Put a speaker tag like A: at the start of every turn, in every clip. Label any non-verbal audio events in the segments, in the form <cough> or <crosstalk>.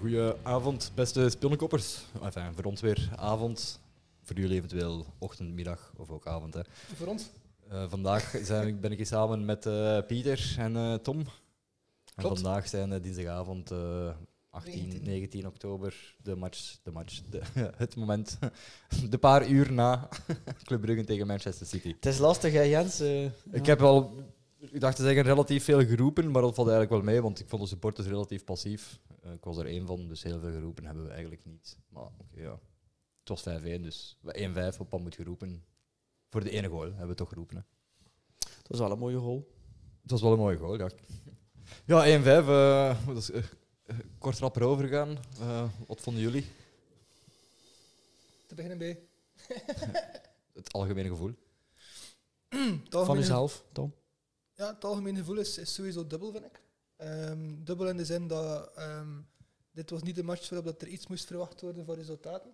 A: Goedenavond, beste spillenkoppers. Enfin, voor ons weer avond. Voor jullie eventueel ochtend, middag of ook avond. Hè.
B: Voor ons?
A: Eh, vandaag zijn, ben ik hier samen met eh, Pieter en eh, Tom. En
B: Klopt.
A: vandaag zijn eh, dinsdagavond eh 18, 19.
B: 19.
A: oktober de match, de match de- <laughs> het moment, de paar uur na <laughs> Club Brugge tegen Manchester City.
B: Het is lastig, hè, Jens? Eh,
A: Ik
B: ja.
A: heb wel, ik dacht te zeggen, relatief veel geroepen, maar dat valt eigenlijk wel mee, want ik vond de supporters relatief passief. Eh, ik was er één van, dus heel veel geroepen hebben we eigenlijk niet. Maar oké, ja. Het was 5-1, dus 1-5 op wat moet geroepen. Voor de ene goal hebben we toch geroepen. Hè.
B: Het was wel een mooie goal.
A: Het was wel een mooie goal, ja. <laughs> Ja, 1-5. eh, dat is eh, eh, kort rap erover gegaan. Eh, wat vonden jullie?
C: Te beginnen bij. <clears throat>
A: Het algemene gevoel.
C: Het algemene-
B: Van uzelf, Tom.
C: Ja, het algemene gevoel is, is sowieso dubbel, vind ik. Ehm, dubbel in de zin dat ehm, dit was niet de match waarop dat er iets moest verwacht worden voor resultaten.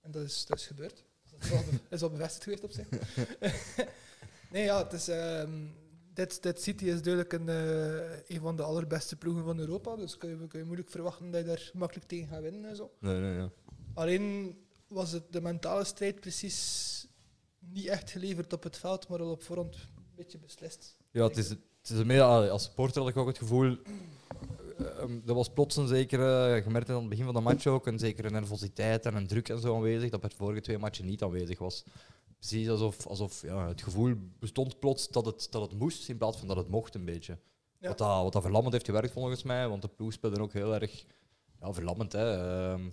C: En dat is, dat is gebeurd. Dat is wel,
B: <laughs>
C: be- is wel bevestigd geweest op zich. <laughs> nee, ja, het is, ehm, dit, dit City is duidelijk een, eh, een van de allerbeste ploegen van Europa. Dus kun je, kun je moeilijk verwachten dat je daar makkelijk tegen gaat winnen en zo.
A: Nee, nee, ja.
C: Alleen was het de mentale strijd precies niet echt geleverd op het veld, maar al op voorhand een beetje beslist.
A: Ja, het is, het is een meer, allee, als supporter had ik ook het gevoel. eh, ehm, er was plots een zekere, je merkte aan het begin van de match ook, een zekere nervositeit en een druk en zo aanwezig, dat bij de vorige twee matchen niet aanwezig was. Precies alsof, alsof ja, het gevoel bestond plots dat het, dat het moest, in plaats van dat het mocht een beetje.
C: Ja.
A: Wat, dat, wat dat verlammend heeft gewerkt volgens mij, want de ploeg speelde ook heel erg ja, verlammend. Hè. Ehm,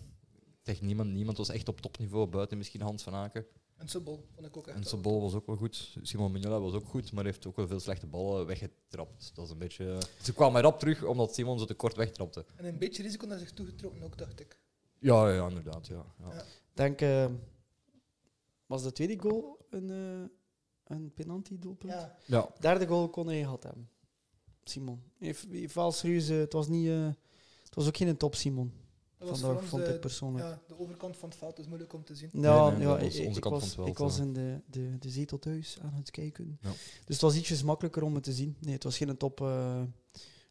A: echt niemand, niemand was echt op topniveau, buiten misschien Hans van Aken.
C: En Sobol vond ik ook echt.
A: En
C: wel.
A: Sobol was ook wel goed. Simon Mignola was ook goed, maar heeft ook wel veel slechte ballen weggetrapt. Dat is een beetje... Ze kwamen rap terug omdat Simon ze te kort wegtrapte.
C: En een beetje risico naar zich toegetrokken ook, dacht ik.
A: Ja, ja, ja, inderdaad. Ja, ja.
C: Ja.
B: Ik denk, eh, was de tweede goal een, eh, een penalty-doelpunt?
C: Ja,
A: Ja.
B: Derde goal kon hij gehad hebben. Simon. Hij heeft- hij heeft wel serieus, eh, het was niet... eh, het was ook geen top, Simon.
C: dat was voor
B: Vandaag
C: ons
B: vond ik
C: de,
B: persoonlijk.
C: ja, de overkant van het veld, dus moeilijk om te zien.
B: Ja,
A: Nee, nee,
B: ja,
A: dat was
B: ik,
A: onze kant
B: ik
A: van
B: was,
A: het veld,
B: ik was
A: ja.
B: in de, de, de zetel thuis aan het kijken.
A: Ja.
B: Dus het was ietsjes makkelijker om het te zien. Nee, het was geen top eh,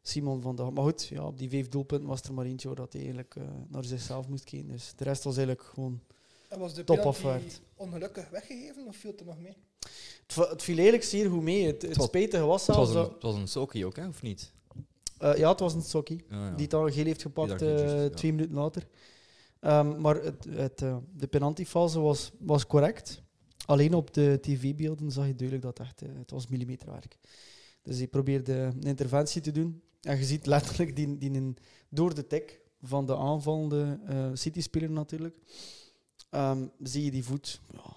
B: Simon vandaag. Maar goed, ja, op die vijf doelpunten was er maar eentje waar dat hij eigenlijk eh, naar zichzelf moest kijken. Dus de rest was eigenlijk gewoon...
C: En was de
B: Top
C: penalty
B: afwaard.
C: ongelukkig weggegeven of viel het er nog mee?
B: Het, va- het viel eigenlijk zeer goed mee. Het, het,
A: was-
B: spijtige was
A: Het,
B: zelfs
A: was een,
B: dat...
A: het was een Soki ook, hè? of niet?
B: eh, ja, het was een sokkie.
A: Ja, ja.
B: Die het al geel heeft
A: Die
B: gepakt
A: daar geel
B: eh,
A: heeft, ja.
B: twee minuten later. Ehm, maar het, het, eh, de penaltyfase was, was correct. Alleen op de tv-beelden zag je duidelijk dat het echt, eh, het was millimeterwerk. Dus hij probeerde een interventie te doen. En je ziet letterlijk die, die een, door de tik van de aanvallende eh City-speler natuurlijk. ehm, zie je die voet, ja,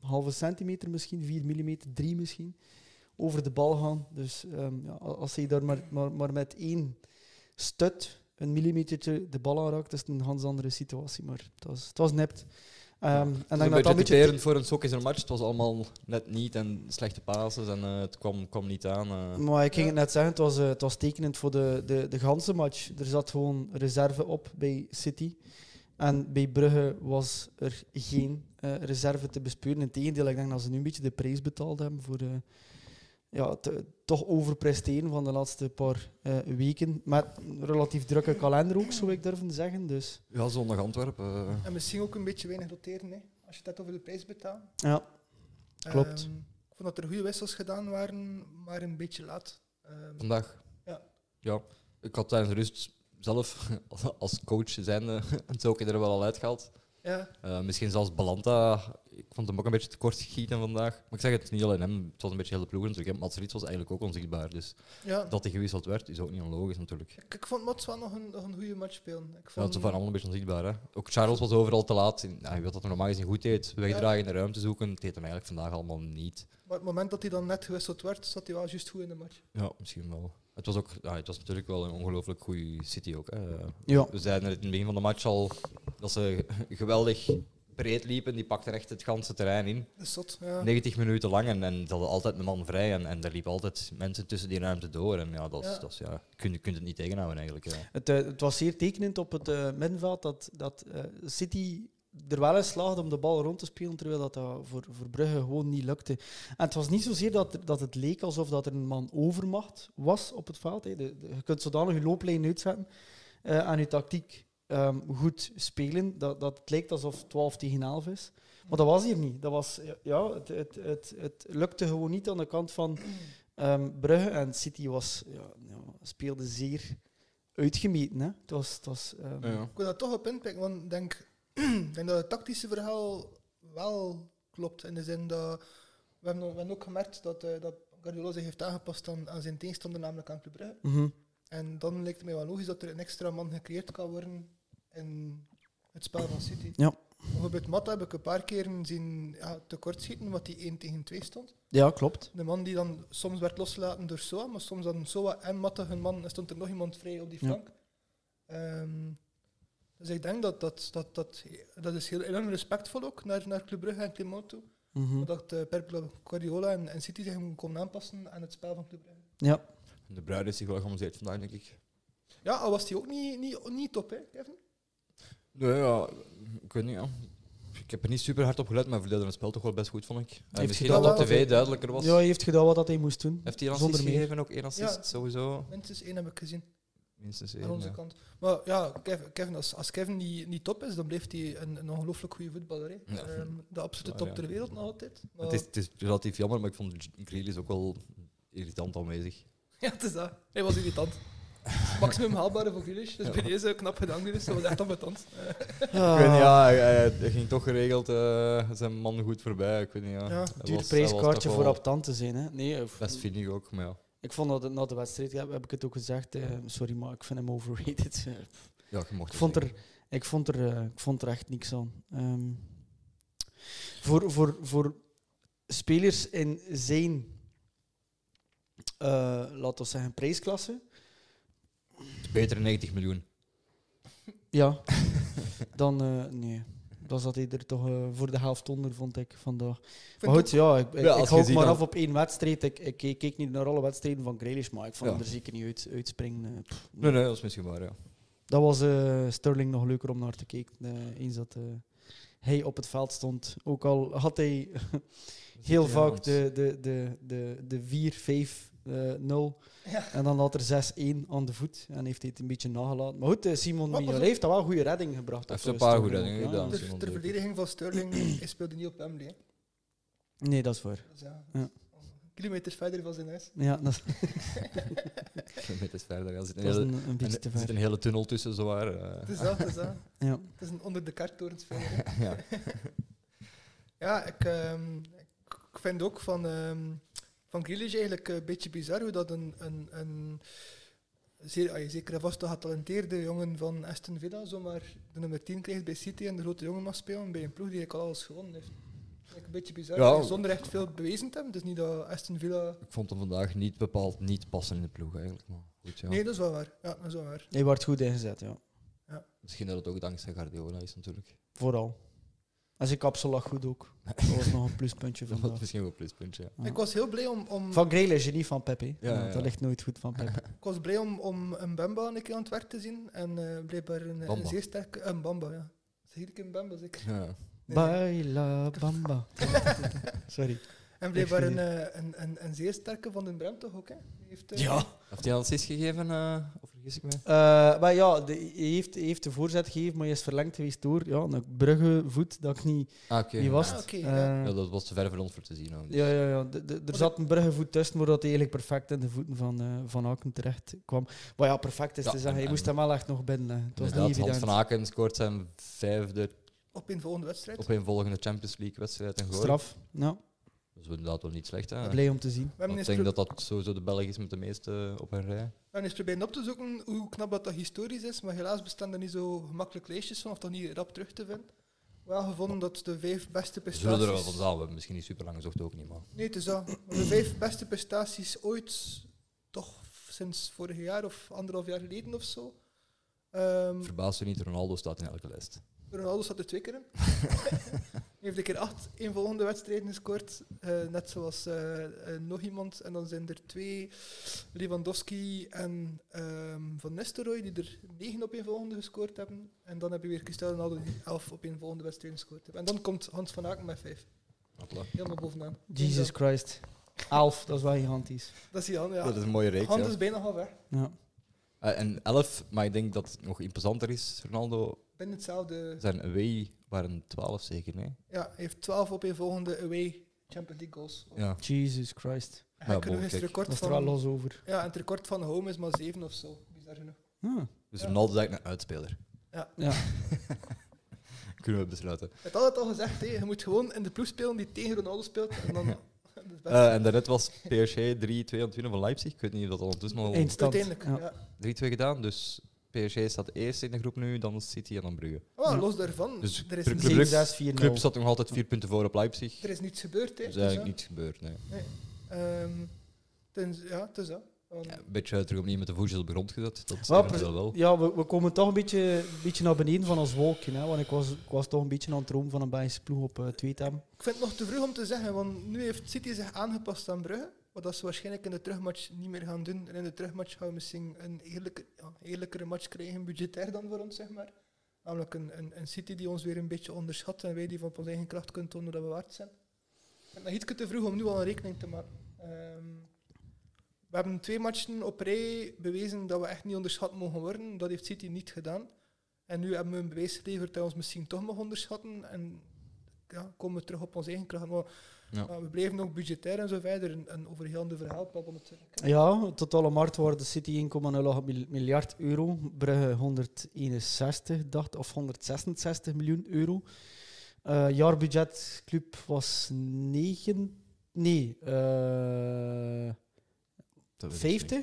B: een halve centimeter misschien, 4 millimeter, 3 misschien, over de bal gaan. Dus ehm, ja, als hij daar maar, maar, maar met één stut een millimetertje de bal aanraakt, is het een ganz andere situatie. Maar het was, het was nipt. Ehm,
A: Ja,
B: en
A: Het
B: dan
A: was een
B: dat
A: beetje
B: dat
A: typerend voor een Soki zijn match. Het was allemaal net niet en slechte passes en eh, het kwam, kwam niet aan. eh.
B: Maar ik ging
C: Ja.
B: het net zeggen, het was, eh, het was tekenend voor de, de, de ganse match. Er zat gewoon reserve op bij City. En bij Brugge was er geen eh, reserve te bespeuren. Integendeel, ik denk dat ze nu een beetje de prijs betaald hebben voor eh, ja, te- toch overpresteren van de laatste paar eh, weken. Met een relatief drukke kalender ook, zou ik durven zeggen. Dus
A: Ja, zondag Antwerpen. eh.
C: En misschien ook een beetje weinig roteren, hè, als je het hebt over de prijs betaalt.
B: ja, Klopt.
C: Ehm, ik vond dat er goede wissels gedaan waren, maar een beetje laat. Ehm,
A: vandaag.
C: Ja.
A: ja. Ik had tijdens de rust zelf <laughs> als coach zijnde het Soki er wel al uitgehaald.
C: ja,
A: Eh, misschien zelfs Balanta. Ik vond hem ook een beetje te kort geschieten vandaag. Maar ik zeg het niet alleen hem. Het was een beetje heel de ploeg. natuurlijk. Matsrits was eigenlijk ook onzichtbaar. Dus
C: ja.
A: dat hij gewisseld werd, is ook niet onlogisch natuurlijk.
C: Ik, ik vond Mats wel nog een, nog een goede match spelen. Ik
A: Ja, het
C: vond,
A: waren allemaal een beetje onzichtbaar. Hè? Ook Charles was overal te laat. En, Ja, je wilt dat hij normaal gezien goed deed. Wegdragen in de ruimte zoeken. Dat deed hem eigenlijk vandaag allemaal niet.
C: maar het moment dat hij dan net gewisseld werd, zat hij wel juist goed in de match.
A: Ja, misschien wel. Het was, ook, ja, het was natuurlijk wel een ongelooflijk goede City ook. Hè. Eh,
B: Ja.
A: We zeiden het in het begin van de match al dat ze <laughs> geweldig breed liepen. Die pakten echt het ganse terrein in.
C: Dus Dat is zot. Ja.
A: 90 minuten lang en, en ze hadden altijd een man vrij en, en er liepen altijd mensen tussen die ruimte door. En ja, dat is,
C: Ja.
A: Dat is, ja, kun, je kunt het niet tegenhouden eigenlijk. Ja.
B: Het, eh, het was zeer tekenend op het eh, middenveld dat, dat eh, City er wel in slaagde om de bal rond te spelen, terwijl dat, dat voor, voor Brugge gewoon niet lukte. En het was niet zozeer dat, er- dat het leek alsof dat er een man overmacht was op het veld. hè. De- de- je kunt zodanig je looplijn uitzetten eh, aan je tactiek ehm, goed spelen, dat, dat het lijkt alsof 12 tegen 11 is. Maar dat was hier niet. Dat was, ja, het, het, het, het lukte gewoon niet aan de kant van <clears throat> ehm, Brugge. En City was, ja, ja, speelde zeer uitgemeten. Hè. Het was, het was, ehm,
A: Ja.
C: Ik wil dat toch op inpikken, want ik denk, <clears throat> ik denk dat het tactische verhaal wel klopt. In de zin dat we hebben, we hebben ook gemerkt dat, eh dat Guardiola zich heeft aangepast aan, aan zijn tegenstander, namelijk aan Club Brugge.
B: mhm.
C: En dan lijkt het mij wel logisch dat er een extra man gecreëerd kan worden in het spel van City.
B: Ja.
C: Bijvoorbeeld Matta heb ik een paar keren zien ja, tekortschieten, wat die 1 tegen 2 stond.
B: Ja, klopt.
C: De man die dan soms werd losgelaten door Soa, maar soms dan Soa en Matte hun man, en stond er nog iemand vrij op die
B: Ja.
C: flank. Ehm, dus ik denk dat dat, dat, dat dat is heel enorm respectvol ook naar, naar Club Brugge en Clement toe.
A: Hm.
B: Mhm.
C: Dat eh, Pep Guardiola en, en City zich komen aanpassen aan het spel van Club Brugge.
B: Ja.
A: De bruid is zich wel geamuseerd vandaag, denk ik.
C: Ja, al was die ook niet, niet, niet top, hè, Kevin?
A: Nee, ja, ik weet niet, ja. Ik heb er niet super hard op gelet, maar verdeelde het spel toch wel best goed, vond ik. En
B: Heeft
A: misschien
B: gedaan
A: dat op
B: wat hij-
A: tv duidelijker was.
B: ja, hij heeft gedaan wat hij moest doen.
A: Heeft hij een
B: Zonder
A: assist
B: meer.
A: gegeven? Ook één assist,
C: Ja.
A: sowieso.
C: Minstens één heb ik gezien.
A: Minstens
C: aan
A: één.
C: onze
A: ja.
C: kant. Maar ja, Kev- Kevin, als, als Kevin niet, niet top is, dan blijft hij een, een ongelooflijk goede voetballer. hè.
A: Ja.
C: Ehm, de absolute
A: Zwaar,
C: top
A: ja.
C: ter wereld nog altijd. Maar,
A: Het is, het is relatief jammer, maar ik vond Grealish ook wel irritant aanwezig.
C: Ja, het is dat. Hij was irritant. Maximum haalbare voor Grealish. Dus bij deze knap gedaan, Grealish. Dat was echt ambetant.
A: <laughs>
B: Ah.
A: Ik weet niet, ja, hij, hij- hij ging toch geregeld eh, zijn man goed voorbij. Ik weet niet, ja.
C: Ja,
A: Hij
C: duur
A: was- hij
B: Duur
A: was
B: prijskaartje
A: toch
B: voor
A: wel
B: Aptant te zijn. Hè. Nee, eh,
A: Best vinnig ook, maar ja.
B: ik vond dat na de wedstrijd, heb, heb ik het ook gezegd, eh, sorry, maar ik vind hem overrated. <laughs> Eh,
A: ja je mocht dus
B: Ik vond,
A: het
B: er, ik, vond er, eh, ik vond er echt niks aan. Ehm, voor, voor, voor spelers in zijn, eh laten we zeggen, prijsklasse,
A: zeggen. Beter 90 miljoen.
B: ja, <laughs> dan eh, nee. Dan zat hij er toch eh, voor de helft onder, vond ik vandaag. Maar goed, ja, ik, ik,
A: Ja,
B: ik
A: als
B: hou
A: je
B: ook
A: ziet
B: maar
A: dan-
B: af op één wedstrijd. Ik, ik, keek- keek niet naar alle wedstrijden van Grealish, maar ik vond
A: Ja.
B: hem er zeker niet uit, uitspringen. eh, pff,
A: Nee, nee, dat is misschien waar, ja.
B: Dat was eh, Sterling nog leuker om naar te kijken. eh, eens dat eh, hij op het veld stond. Ook al had hij heel
A: Ja,
B: vaak
A: want-
B: de, de, de, de, de 4, 5, eh, 0.
C: Ja.
B: En dan had er 6-1 aan de voet. En heeft hij het een beetje nagelaten. Maar goed, eh, Simon
C: Maar pas
B: Mignolet
C: op.
B: heeft daar wel een goede redding gebracht.
A: Hij heeft
B: op,
A: een
B: eh,
A: paar
B: Sterling
A: goede reddingen
B: ook, ja.
A: gedaan.
C: Ter, ter verdediging van
B: <clears throat>
C: Sterling hij speelde niet op Wembley. hè.
B: Nee, dat is waar.
C: Dus ja,
B: Ja.
C: Kilometers verder van zijn huis.
B: Ja, dat
A: Met het verder. ja. Er zit <laughs> een
B: dat was
A: hele,
B: een, een
A: een,
B: beetje te
A: er zit
B: ver.
A: een hele tunnel tussen, zowaar.
C: Het
A: eh.
C: is dat, het is dat.
B: Ja.
C: Het is een onder de kaart
B: <laughs>
C: speler. hè.
A: <laughs> ja.
C: Ja, ik, ehm, ik vind ook van, ehm van Grealish eigenlijk een beetje bizar hoe dat een, een, een zeer, ah, zeker en vast een getalenteerde jongen van Aston Villa zomaar de nummer 10 krijgt bij City en de grote jongen mag spelen bij een ploeg die eigenlijk al alles gewonnen heeft. Eigenlijk een beetje bizar,
A: Ja.
C: zonder echt veel bewezen te hebben. Het is niet dat Aston Villa...
A: Ik vond hem vandaag niet bepaald niet passen in de ploeg, eigenlijk. Maar goed, ja.
C: Nee, dat is wel waar. Ja, dat is wel waar.
B: Hij werd goed ingezet, ja.
A: Misschien dat het ook dankzij Guardiola is,
B: <laughs>
A: natuurlijk.
B: Vooral. En zijn kapsel lag goed
A: <laughs>
B: ook. Dat was nog een pluspuntje
A: Dat was
B: vandaag.
A: misschien wel een pluspuntje. ja.
B: Ja.
C: Ik was heel blij om, om,
B: Van Grealish, niet van Pepe.
A: Ja, ja, ja.
B: Dat ligt nooit goed van
A: <laughs>
B: Pepe.
C: ik was blij om, om een Bamba een keer aan het werk te zien en eh, blijkbaar een, een
A: Bamba.
C: zeer sterke... Een Bamba, ja. Zeg ik een Bamba, zeker?
A: Ja.
C: Nee.
B: Baila Bamba.
A: <laughs>
B: Sorry.
C: En blijkbaar
B: Echt
C: een,
B: niet.
C: eh, een, een, een zeer sterke van den Brem toch ook, hè? Die Heeft, eh,
A: Heeft hij een assist gegeven, eh, of vergis ik mij?
B: Eh, maar ja, de, hij, heeft, hij heeft de voorzet gegeven, maar hij is verlengd geweest door ja, een bruggenvoet dat ik niet,
A: Ah, oké.
B: niet was.
C: Ah, oké,
B: Eh,
C: ja.
A: Ja, dat was te ver voor ons voor te zien. hoor.
B: ja, ja, ja. De- de- er zat een bruggenvoet tussen, maar dat hij eigenlijk perfect in de voeten van, eh Van Aken terecht kwam. Maar ja, perfect is
A: Ja,
B: te zeggen. Hij
A: en-
B: moest
A: en-
B: hem wel echt nog binnen. Het was
A: Inderdaad,
B: niet
A: Hans
B: evident.
A: van Aken scoort zijn vijfde
C: Op een volgende wedstrijd.
A: op een volgende Champions League-wedstrijd en goal.
B: Straf. Nou,
A: Dat is inderdaad wel niet slecht. Hè.
B: blij om te zien.
C: We hebben,
A: ik
C: eens
A: denk
C: pro-
A: dat dat sowieso de Belg is met de meeste op een rij.
C: we hebben eens proberen op te zoeken hoe knap dat, dat historisch is, maar helaas bestaan er niet zo gemakkelijk lijstjes van, of toch niet rap terug te vinden. Wel gevonden dat de vijf beste
A: We zullen er wel
C: prestaties...
A: van zijn. We hebben misschien niet super lang gezocht ook niet, maar...
C: Nee, het is dat. Maar De vijf beste prestaties ooit, toch sinds vorig jaar of anderhalf jaar geleden of zo. Ehm,
A: Verbaas je niet, Ronaldo staat in elke lijst.
C: Ronaldo zat er
A: <laughs>
C: twee keer in. Hij heeft een keer acht in volgende wedstrijden gescoord. Eh, net zoals eh, eh, nog iemand. En dan zijn er twee, Lewandowski en ehm, Van Nistelrooy, die er negen op een volgende gescoord hebben. En dan heb je weer Cristiano Ronaldo, die elf op een volgende wedstrijden gescoord heeft. En dan komt Hans van Aken met vijf.
A: Voilà.
C: Helemaal bovenaan.
B: Jesus
C: Ja,
B: Christ. Elf, dat is wel gigantisch.
C: Dat is Jan, ja.
A: Dat is een mooie reeks.
C: Hans
A: ja.
C: is bijna half weg.
B: Ja.
A: Eh, en 11, maar ik denk dat het nog imposanter is, Ronaldo.
C: Binnen hetzelfde.
A: Zijn away waren 12 zeker, nee?
C: Ja, hij heeft 12 op een volgende away Champions League goals.
A: Ja.
B: Jesus Christ.
C: Hij
A: Ja,
C: kan nog
A: bon,
C: eens het
A: kijk.
B: Dat
C: record
B: is er al
C: van.
B: los over.
C: Ja, en het record van Home is maar 7 of zo. Bizar genoeg.
B: Ah.
A: Dus
C: Ja.
A: Ronaldo is eigenlijk een uitspeler.
C: Ja.
B: Ja.
A: <laughs> Kunnen we besluiten.
C: Het had het al gezegd, hè. je moet gewoon in de ploeg spelen die tegen Ronaldo speelt. En dan.
A: Ja.
C: <laughs> dat is best.
A: Eh en daarnet was PSG 3-22 van Leipzig. Ik weet niet of dat ondertussen al 3-2
B: Oh. Eindstand.
C: Uiteindelijk. Ja.
B: Ja.
A: gedaan. Dus PSG staat eerst in de groep nu, dan City en dan Brugge.
C: Ah,
B: Ja.
C: los daarvan,
A: Dus
C: er, is
A: Club-
C: niets,
A: Club-
B: 7-6, 4-0.
A: De club staat nog altijd vier punten voor op Leipzig.
C: er is niets gebeurd. Hè.
A: Dat is
C: Dus,
A: eigenlijk
C: ja.
A: niets gebeurd. Nee.
C: Ehm, tens- ja, het is dat. Want-
A: Ja, een beetje terug opnieuw met de voetjes op de grond gezet. Dat is
B: Wel,
A: eventueel wel.
B: Ja, we, we komen toch een beetje, een beetje naar beneden van ons wolkje. Hè? Want ik was, ik was toch een beetje aan het dromen van een Belgische ploeg op eh Tweetam.
C: Ik vind het nog te vroeg om te zeggen, want nu heeft City zich aangepast aan Brugge. Wat dat ze waarschijnlijk in de terugmatch niet meer gaan doen. En in de terugmatch gaan we misschien een eerlijke, ja, eerlijkere match krijgen, budgetair dan voor ons, zeg maar. Namelijk een, een, een City die ons weer een beetje onderschat en wij die van op onze eigen kracht kunnen tonen dat we waard zijn. Ik vind het nog iets te vroeg om nu al een rekening te maken. Ehm, we hebben twee matchen op rij bewezen dat we echt niet onderschat mogen worden. Dat heeft City niet gedaan. En nu hebben we een bewijs geleverd dat we ons misschien toch mag onderschatten. En ja, komen we terug op onze eigen kracht. Maar
A: Ja.
C: ja, we blijven nog budgetair en zo verder. Een, een overheelende verhaalpap natuurlijk.
B: Ja, totale marktwaarde City 1,08 mil- miljard euro. Brugge 161, dacht, of 166 miljoen euro. Eh jaarbudget club was 9... Nee, eh,
A: Dat weet ik niet.
B: 50.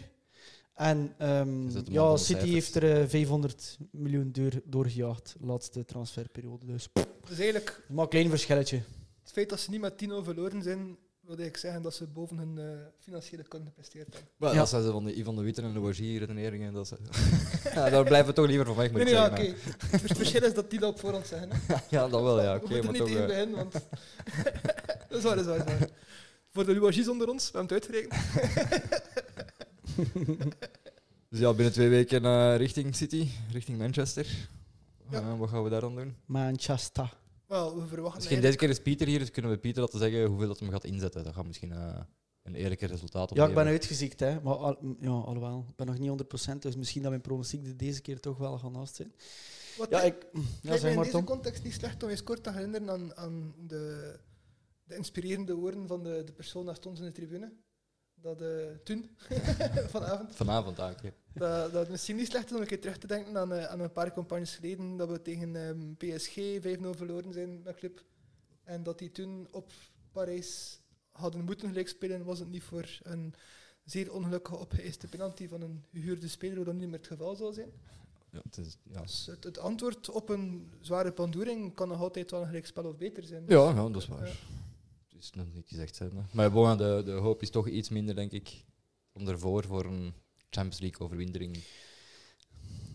B: En ehm,
A: Is dat de man
B: ja,
A: van de
B: City
A: cijfers?
B: heeft er eh, 500 miljoen deur doorgejaagd, laatste transferperiode. Dus pff,
C: Dus eigenlijk,
B: maar een klein verschilletje.
C: het feit dat ze niet met 10-0 verloren zijn, wil ik zeggen dat ze boven hun eh, financiële kunnen gepresteerd hebben.
A: Maar
B: Ja.
A: dat zijn ze van de Ivan de Witte en de Wajir redeneringen. Dat ze...
C: <laughs>
A: ja, daar blijven we toch liever van weg, moet
C: Nee,
A: ik
C: nee, ja,
A: zeggen.
C: oké. Het verschil is dat die dat op voorhand zeggen. Hè.
A: hè. <laughs> ja, dat wel, ja.
C: we
A: Oké,
C: moeten
A: maar
C: niet
A: toch...
C: tegen
A: eh,
C: beginnen, want... <laughs> dat is waar, dat is waar. dat is waar. Voor de louagies onder ons, we hebben het uitgerekend.
A: Dus ja, binnen twee weken eh, richting City, richting Manchester.
C: Ja. Ah,
A: Eh, wat gaan we daar dan doen?
B: Manchester.
C: Wel, we verwachten
A: Misschien
C: eigenlijk-
A: deze keer is Pieter hier, dus kunnen we Pieter laten zeggen hoeveel dat hem gaat inzetten. Dat gaat misschien eh, een eerlijke resultaat
B: Ja, ik ben
A: opleveren.
B: uitgeziekt, hè. Maar al, ja, alhoewel, ik ben nog niet 100%, dus misschien dat mijn pronostiek er deze keer toch wel gaan naast zijn.
C: Wat
B: Ja,
C: denk-
B: ik... Ja,
C: Lijkt mij
B: zeg
C: in
B: maar,
C: deze
B: Tom.
C: context niet slecht om eens kort te herinneren aan, aan de, de inspirerende woorden van de, de persoon naast ons in de tribune. Dat eh, toen, <laughs> vanavond,
A: Vanavond eigenlijk.
C: dat, dat het misschien niet slecht is om een keer terug te denken aan, eh, aan een paar campagnes geleden, dat we tegen ehm, PSG 5-0 verloren zijn met club. En dat die toen op Parijs hadden moeten gelijk spelen, was het niet voor een zeer ongelukkige opgeëiste penalty van een gehuurde speler, wat dan niet meer het geval zal zijn.
A: Ja, het is, ja.
C: Dus het, het antwoord op een zware pandoering kan nog altijd wel een gelijkspel of beter zijn. Dus
A: Ja, ja, dat is waar.
C: Ja.
A: Het is nog niet gezegd. Hè. Maar bon, de, de hoop is toch iets minder, denk ik, om ervoor voor een Champions League overwintering.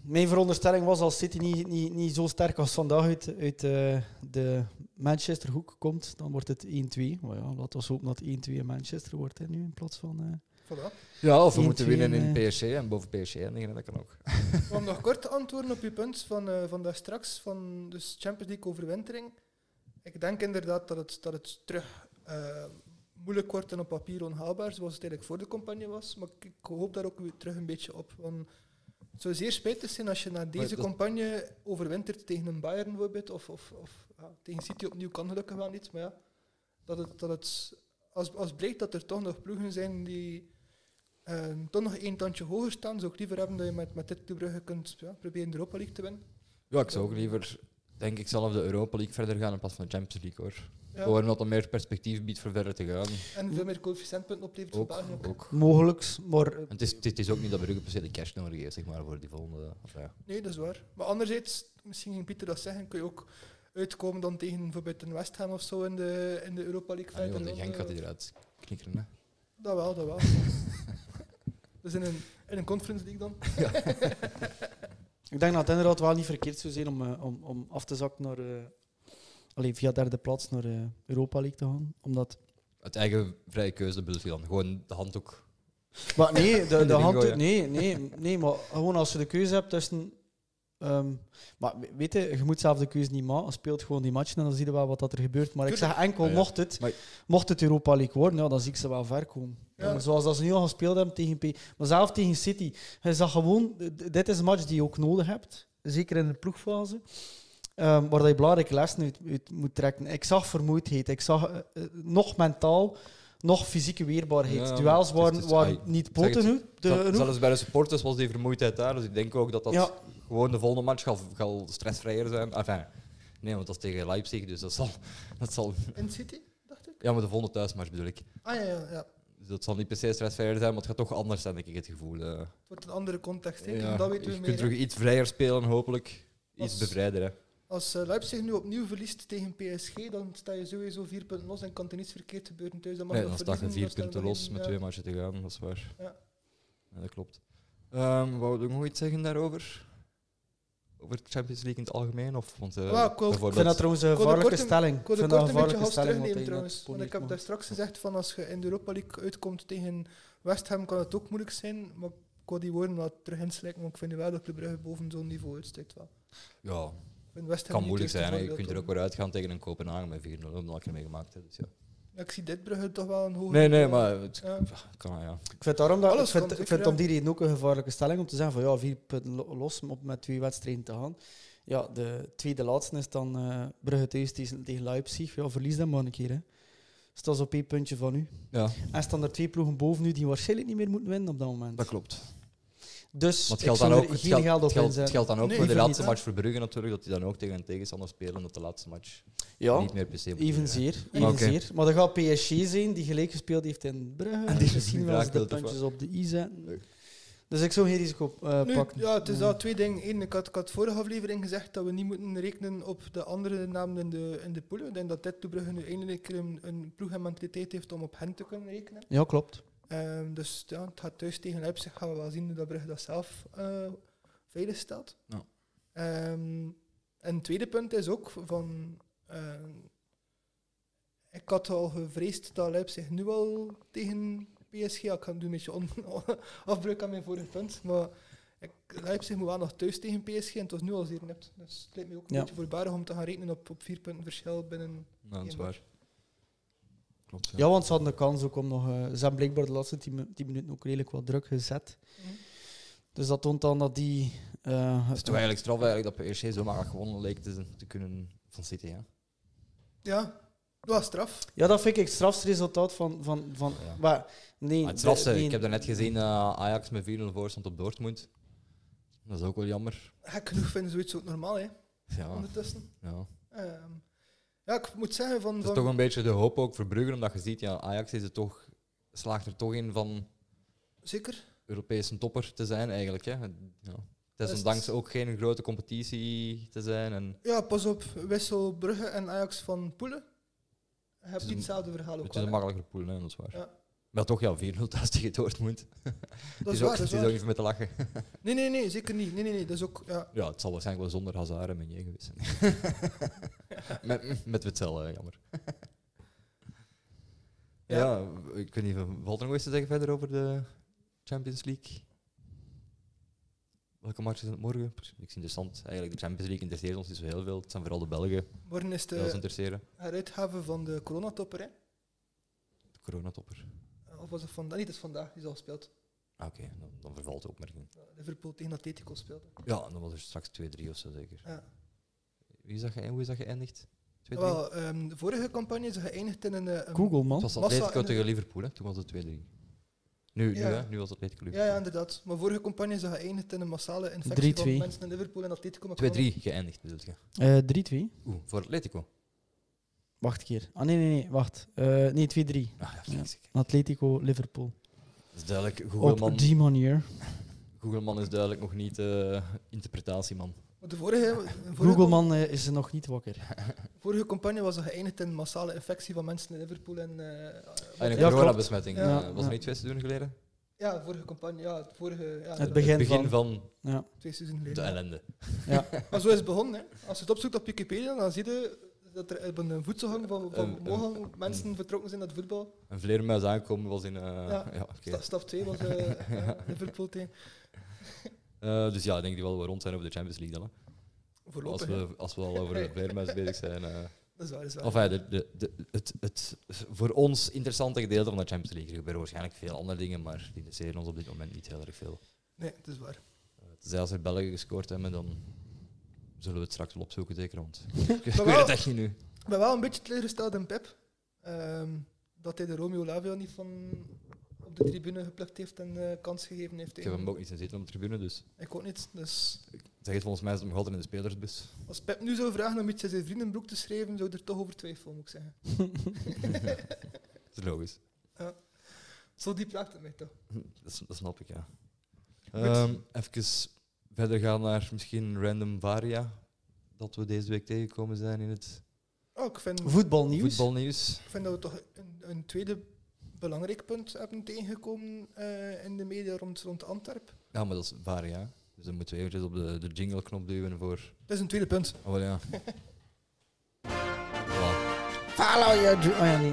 B: Mijn veronderstelling was als City niet, niet, niet zo sterk als vandaag uit, uit eh, de Manchesterhoek komt, dan wordt het 1-2. Maar ja, laten we hopen dat 1-2 in Manchester wordt hè, nu in plaats van... eh,
C: Voilà.
A: Ja, of we
B: Eén,
A: moeten
B: twee,
A: winnen in PSG en boven PSG eindigen, dat kan ook. <laughs>
C: Om nog kort te antwoorden op je punt van, eh van daar straks, van dus Champions League overwintering. Ik denk inderdaad dat het, dat het terug eh, moeilijk wordt en op papier onhaalbaar, zoals het eigenlijk voor de campagne was. Maar ik, ik hoop daar ook weer terug een beetje op. Want het zou zeer spijtig zijn als je na deze
A: dat-
C: campagne overwintert tegen een Bayern bijvoorbeeld, of, of, of ja, tegen City opnieuw kan gelukkig wel niet, maar ja, dat het, dat het, als, als blijkt dat er toch nog ploegen zijn die eh, toch nog één tandje hoger staan, zou ik liever hebben dat je met, met dit Club Brugge kunt ja, proberen de Europa League te winnen.
A: Ja, ik zou ook liever, denk ik, zelf de Europa League verder gaan in plaats van de Champions League hoor.
C: Ja,
A: Gewoon dat er meer perspectief biedt voor verder te gaan.
C: En veel meer coëfficiëntpunten oplevert voor
A: Ook,
C: België. ook.
A: ook.
B: mogelijks, maar... eh,
A: En het, is, het is ook niet dat Brugge per se de cash nodig heeft zeg maar, voor die volgende. of ja.
C: Nee, dat is waar. Maar anderzijds, misschien ging Pieter dat zeggen, kun je ook uitkomen dan tegen bijvoorbeeld een West Ham of zo in de, in de Europa League
A: Ah, nee,
C: verder.
A: want de
C: dan,
A: Genk gaat
C: eh,
A: hij eruit knikkeren. Hè.
C: Dat
A: <laughs>
C: wel, dat wel. dus in een, in een conference league dan.
B: Ik denk dat het inderdaad wel niet verkeerd zou zijn om, eh, om, om af te zakken naar... eh alleen via derde plaats naar eh, Europa League te gaan. Omdat...
A: Het eigen vrije keuze bedoelt hij dan. Gewoon de handdoek.
B: Maar nee, de, de <laughs>
A: Erin
B: hand...
A: gooien.
B: Nee, nee, nee, maar gewoon als je de keuze hebt tussen Ehm, maar we- weet je, je moet zelf de keuze niet maken. Speelt gewoon die matchen en dan zie je wel wat dat er gebeurt. Maar ik zeg enkel,
A: Ja, ja.
B: mocht, het,
A: Maar-
B: mocht het Europa League worden, ja, dan zie ik ze wel ver komen.
C: Ja.
B: Ja, maar zoals dat ze nu al gespeeld hebben tegen P. Maar zelf tegen City. Je zag gewoon, d- dit is een match die je ook nodig hebt. Zeker in de ploegfase. Ehm, waar dat je belangrijke lessen uit, uit moet trekken. Ik zag vermoeidheid. Ik zag eh, eh, nog mentaal, nog fysieke weerbaarheid.
A: Ja, maar het
B: Duels
A: is-
B: waren,
A: het is-
B: waren
A: ai,
B: niet
A: zeg het,
B: poten genoeg.
A: Zel- Zelfs bij de supporters was die vermoeidheid daar. Dus ik denk ook dat dat
B: Ja.
A: gewoon de volgende match gaat, gaat stressvrijer zijn. Enfin, nee, want dat is tegen Leipzig, dus dat zal, dat zal...
C: In City, dacht ik.
A: Ja, maar de volgende thuismatch bedoel ik.
C: Ah ja, ja, ja.
A: Dus dat zal niet per se stressvrijer zijn, maar het gaat toch anders zijn, denk ik, het gevoel. eh.
C: Het wordt een andere context. hè.
A: Ja,
C: dat weten we
A: je
C: meer.
A: kunt
C: hè.
A: terug iets vrijer spelen, hopelijk. Iets
C: Dat is-
A: bevrijder, hè.
C: Als eh, Leipzig nu opnieuw verliest tegen PSG, dan sta je sowieso vier punten los en kan er niets verkeerd gebeuren thuis. Dan mag
A: Nee,
C: je
A: dan
C: nog
A: sta je
C: verliezen,
A: vier
C: dan
A: punten
C: staan we
A: los
C: in,
A: met
C: ja.
A: twee matchen te gaan, dat is waar.
C: Ja.
A: Ja, dat klopt. Ehm wou ik nog iets zeggen daarover? Over de Champions League in het algemeen? Of, want, eh,
C: Wel, ik wou- ik vind
B: Ik vind dat
A: bijvoorbeeld-
B: trouwens een
C: Ik wou de
B: gevaarlijke
C: korte-
B: stelling.
C: Ik wil de
B: vind dat
C: kort een beetje half
B: gevaarlijke stelling,
C: terugnemen
B: want
C: trouwens. Want ik heb daar
B: dat
C: straks gezegd van als je in de Europa League uitkomt tegen West Ham kan het ook moeilijk zijn. Maar ik wil die woorden wel terug inslijken, want ik vind wel dat Club Brugge boven zo'n niveau uitsteekt wel.
A: Ja,
C: Ik vind West
A: het
C: Ham
A: kan
C: niet
A: moeilijk
C: het
A: zijn. hè.
C: eerste
A: Je kunt er ook
C: voorbeeld
A: weer uitgaan tegen een Kopenhagen met 4-0, omdat ik er mee gemaakt heb. Dus ja.
C: om. Ja, ik zie dit Brugge toch wel een hoger
A: Nee, nee,
C: niveau.
A: maar het
C: Ja.
A: kan, ja.
B: Ik vind, daarom dat, ik
C: Alles
B: vind,
C: kan,
B: ik
C: zeker,
B: vind om
C: ja.
B: die reden ook een gevaarlijke stelling om te zeggen van ja, vier punten lo- los om op met twee wedstrijden te gaan. Ja, de tweede laatste is dan eh Brugge thuis tegen tegen Leipzig. Ja, verlies dat maar een keer. Hè. Stel ze op één puntje van u.
A: ja,
B: En staan er twee ploegen boven u die waarschijnlijk niet meer moeten winnen op dat moment.
A: dat klopt.
B: Dus
A: Maar het
B: ik
A: geldt
B: zou
A: dan
B: er
A: ook, het
B: geen
A: geldt,
B: geld op
A: het geldt, het
B: inzetten.
A: geldt dan ook
C: Nee,
A: voor de
C: liever
A: laatste
C: niet, hè.
A: match voor Brugge natuurlijk, dat die dan ook tegen een tegenstander spelen, dat de laatste match
B: Ja,
A: niet meer per se moet gebeuren, hè.
B: evenzeer.
A: Ja. Oké.
B: evenzeer. Maar dan gaat PSG zijn die gelijk gespeeld heeft in Brugge. En
A: die
B: misschien
A: niet
B: wel eens de
A: raakt, dat is
B: puntjes op de i zetten.
A: Nee.
B: Dus ik zou geen risico eh,
C: Nu,
B: pakken.
C: ja, het is
B: Ja.
C: al twee dingen. Eén, ik had, ik had vorige aflevering gezegd dat we niet moeten rekenen op de andere namen in de, in de pool. Ik denk dat dit Brugge nu eindelijk een, keer een, een ploeg en mentaliteit heeft om op hen te kunnen rekenen.
B: Ja, klopt.
C: Ehm, dus ja, het gaat thuis tegen Leipzig. Gaan we wel zien hoe dat Brugge dat zelf eh, veilig stelt.
A: Ja.
C: Ehm, en het tweede punt is ook van... ehm, ik had al gevreesd dat Leipzig nu al tegen PSG... ja, ik ga nu een beetje on, <laughs> afbreuk aan mijn vorige punt, maar... Ik, Leipzig moet wel nog thuis tegen PSG en het was nu al zeer nipt. Dus het lijkt me ook een
B: Ja.
C: beetje voorbarig om te gaan rekenen op, op vier punten verschil binnen...
A: Nou, dat is
C: Ja, maar-
A: waar. Klopt, ja.
B: Ja, want ze hadden de kans ook om nog... eh, ze hebben blijkbaar de laatste tien, mi- tien minuten ook redelijk wat druk gezet.
C: Mhm.
B: Dus dat toont dan dat die... eh,
A: Het is toch eigenlijk straf eigenlijk dat PSG zo makkelijk gewonnen leek te, te kunnen van City, hè?
C: Ja, dat was straf.
B: ja, dat vind ik het strafsresultaat van... van, van
A: Ja.
B: maar, nee,
A: Maar het strafste,
B: de- nee,
A: ik heb daarnet gezien eh, Ajax met 4-0 voor stond op Dortmund. Dat is ook wel jammer.
C: Gek genoeg vinden zoiets ook normaal, hè,
A: Ja,
C: ondertussen.
A: ja.
C: Ehm, ja, ik moet zeggen van...
A: Het
C: van
A: is toch een beetje de hoop ook voor Brugge, omdat je ziet, ja, Ajax is het toch, slaagt er toch in van
C: Zeker.
A: Europese topper te zijn eigenlijk. Hè. Ja. Het
C: het-
A: is ondanks ook geen grote competitie te zijn. En
C: Ja, pas op. Wissel Brugge en Ajax van Poelen. Je hebt
A: is
C: niet
A: een-
C: hetzelfde verhaal ook
A: het is een
C: wel, hè.
A: makkelijker pool, hè, dat is waar.
C: Ja.
A: Maar toch, ja, 4-0 thuis tegen Dortmund.
C: Dat is
A: ook,
C: waar,
A: het
C: dat is
A: is ook
C: waar.
A: niet meer te lachen.
C: Nee, nee, nee, zeker niet. Nee, nee, nee, dat is ook... Ja.
A: Ja, het zal waarschijnlijk wel zonder Hazard en Meunier geweest zijn.
C: <laughs>
A: met, met Witzel, eh, jammer.
C: Ja.
A: ja. ik weet niet, valt er nog iets te zeggen verder over de Champions League? Welke match is het morgen? Ik vind het interessant. Eigenlijk, de Champions League interesseert ons niet zo heel veel. Het zijn vooral de Belgen
C: Morgen is
A: die ons
C: de
A: interesseren.
C: heruitgave van de coronatopper, hè.
A: De coronatopper.
C: Of was het vandaag? Niet, het is vandaag. Die is al gespeeld.
A: Ah, Oké, dan, dan vervalt de opmerking.
C: Liverpool tegen Atletico speelde.
A: Ja, en dan was er straks 2-3 of zo zeker.
C: Ja.
A: Wie is dat ge- hoe is dat geëindigd? 2-3?
C: Wel, ehm, de vorige campagne is geëindigd in een... eh, een-
B: Google,
A: Het
B: man.
A: was
C: Massa
A: Atletico
C: en-
A: tegen Liverpool, hè? toen was het 2-3. Nu,
C: Ja.
A: nu, hè? nu was het Atletico
C: Ja, ja,
A: Liverpool.
C: inderdaad. Maar vorige campagne is geëindigd in een massale infectie
B: 3-2.
C: van mensen in Liverpool en Atletico. met
A: 2-3 geëindigd bedoel je?
B: Eh, 3-2.
A: Oeh, voor Atletico?
B: Wacht een keer. Ah, nee, nee, nee. Wacht. Eh, nee, 2-3.
A: Ah, ja,
B: Ja.
A: kijk, kijk.
B: Atletico, Liverpool.
A: Dat is duidelijk.
B: Op
A: Googleman,
B: die manier.
A: Googleman is duidelijk nog niet eh interpretatieman.
C: Maar De vorige, de vorige
B: Googleman eh, is er nog niet wakker.
C: Vorige campagne was er geëindigd in een massale infectie van mensen in Liverpool. En, eh, wat-
A: En een
B: Ja, klopt.
A: coronabesmetting.
C: Ja.
A: eh,
B: Ja.
A: was het niet twee seizoenen geleden?
C: ja, vorige campagne. Ja, het vorige, ja,
B: Het
C: begin.
B: begin,
A: Het begin
B: van.
A: van
B: Ja.
C: Twee seizoenen
A: de
C: geleden.
A: ellende.
C: Maar zo is het begonnen. Hè. Als je het opzoekt op Wikipedia, dan zie je dat er op een voedselgang van, van
A: Een- een-
C: mogelijk mensen vertrokken zijn naar het voetbal.
A: Een vleermuis aankomen was in... eh,
C: Ja.
A: ja, oké. <laughs>
C: Sta- Stap 2 was eh, eh, Liverpool tegen.
A: Eh, dus ja, ik denk die wel we rond zijn over de Champions League dan. hè. Als
C: Voorlopig. hè.
A: we, als we al over
C: <laughs>
A: de Bayernmatch bezig zijn. eh.
C: Dat is waar, dat is waar.
A: Enfin, de, de, de- het, het voor ons interessante gedeelte van de Champions League. Er gebeuren waarschijnlijk veel andere dingen, maar die interesseren ons op dit moment niet heel erg veel.
C: Nee, het is waar.
A: Eh, Tenzij als er Belgen gescoord hebben, dan zullen we het straks wel opzoeken, zeker.
C: <laughs>
A: Want ik ik
C: Maar
A: weet
C: wel-
A: het echt niet nu.
C: Ik ben wel een beetje teleurgesteld in Pep. ehm, dat hij de Romeo Lavia niet van op de tribune geplukt heeft en eh, kans gegeven heeft.
A: Ik heb hem
C: tegen-
A: ook niet zien zitten op de tribune, dus
C: Ik ook niet. Dus
A: zeg het volgens mij is hem nog altijd in de
C: <laughs>
A: spelersbus.
C: als Pep nu zou vragen om iets in zijn vriendenbroek te schrijven, zou ik er toch over twijfelen, moet ik zeggen.
A: Dat is logisch.
C: Zo diep raakt het mij toch.
A: Dat, s- dat snap ik, ja. Ehm even verder gaan naar misschien random varia dat we deze week tegengekomen zijn in het
C: Oh, ik, vind,
B: Voetbalnieuws.
A: voetbalnieuws.
C: ik vind dat we toch een, een tweede belangrijk punt hebben tegengekomen eh, in de media rond, rond Antwerp.
A: Ja, maar dat is varia. Dus dan moeten we eventjes op de, de jingle-knop duwen voor...
C: Dat is een tweede punt.
A: Oh, wel, ja.
B: <laughs>
A: voilà.
B: Follow your dream. Oh ja, nee.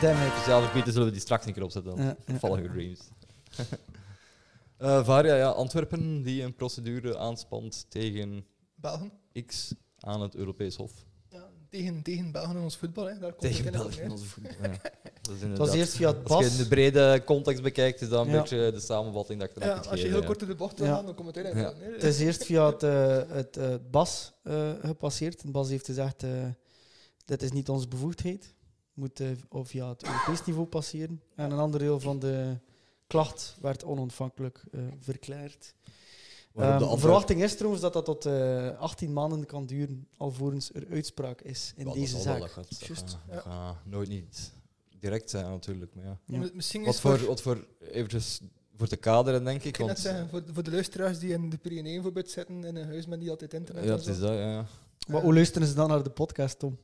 B: Damn it.
A: Speciaal voor Pieter zullen we die straks een keer opzetten. Dan.
B: Ja, ja.
A: Follow your dreams. <laughs> Eh, varia, ja. Antwerpen die een procedure aanspant tegen
C: Belgen.
A: X aan het Europees Hof.
C: Ja, tegen, tegen Belgen in ons voetbal. Hè. Daar komt
A: Tegen
C: het in op
A: België.
C: <laughs> neer.
A: onze voet- Ja, dat is
B: Het
A: inderdaad-
B: was eerst via het
A: Als je in
B: pas.
A: de brede context bekijkt, is dat een
B: Ja.
A: beetje de samenvatting dat ik erop
C: Ja,
A: moet
C: als je
A: geven,
C: heel
A: ja.
C: kort in de bocht wil
B: Ja.
C: gaan, dan komt het
A: Ja.
C: uiteindelijk. wel neer.
B: Het is eerst via het, eh, het, eh, het BAS eh, gepasseerd. En BAS heeft gezegd, eh dit is niet onze bevoegdheid. Moet eh, of via het Europees niveau passeren. En een ander deel van de klacht werd onontvankelijk eh, verklaard.
A: Waarop
B: Ehm,
A: de
B: de
A: andere-
B: verwachting is trouwens dat dat tot eh 18 maanden kan duren, alvorens er uitspraak is in
A: Ja, dat
B: deze
A: zal wel,
B: zaak.
A: dat gaat- dat
C: Juist,
A: gaat-
C: ja.
A: dat gaat nooit niet direct zijn, natuurlijk. Maar ja.
B: Ja.
C: Om het- Misschien
A: wat,
C: is voor,
A: voor, wat voor, eventjes voor te kaderen, denk ik.
C: ik kan net
A: Want,
C: zeggen, voor, voor de luisteraars die in de Pyreneeën voorbeeld zitten in een huis met niet altijd internet.
A: ja,
C: en
A: het
C: zo.
A: is dat, ja. ja.
B: Maar hoe luisteren ze dan naar de podcast, Tom?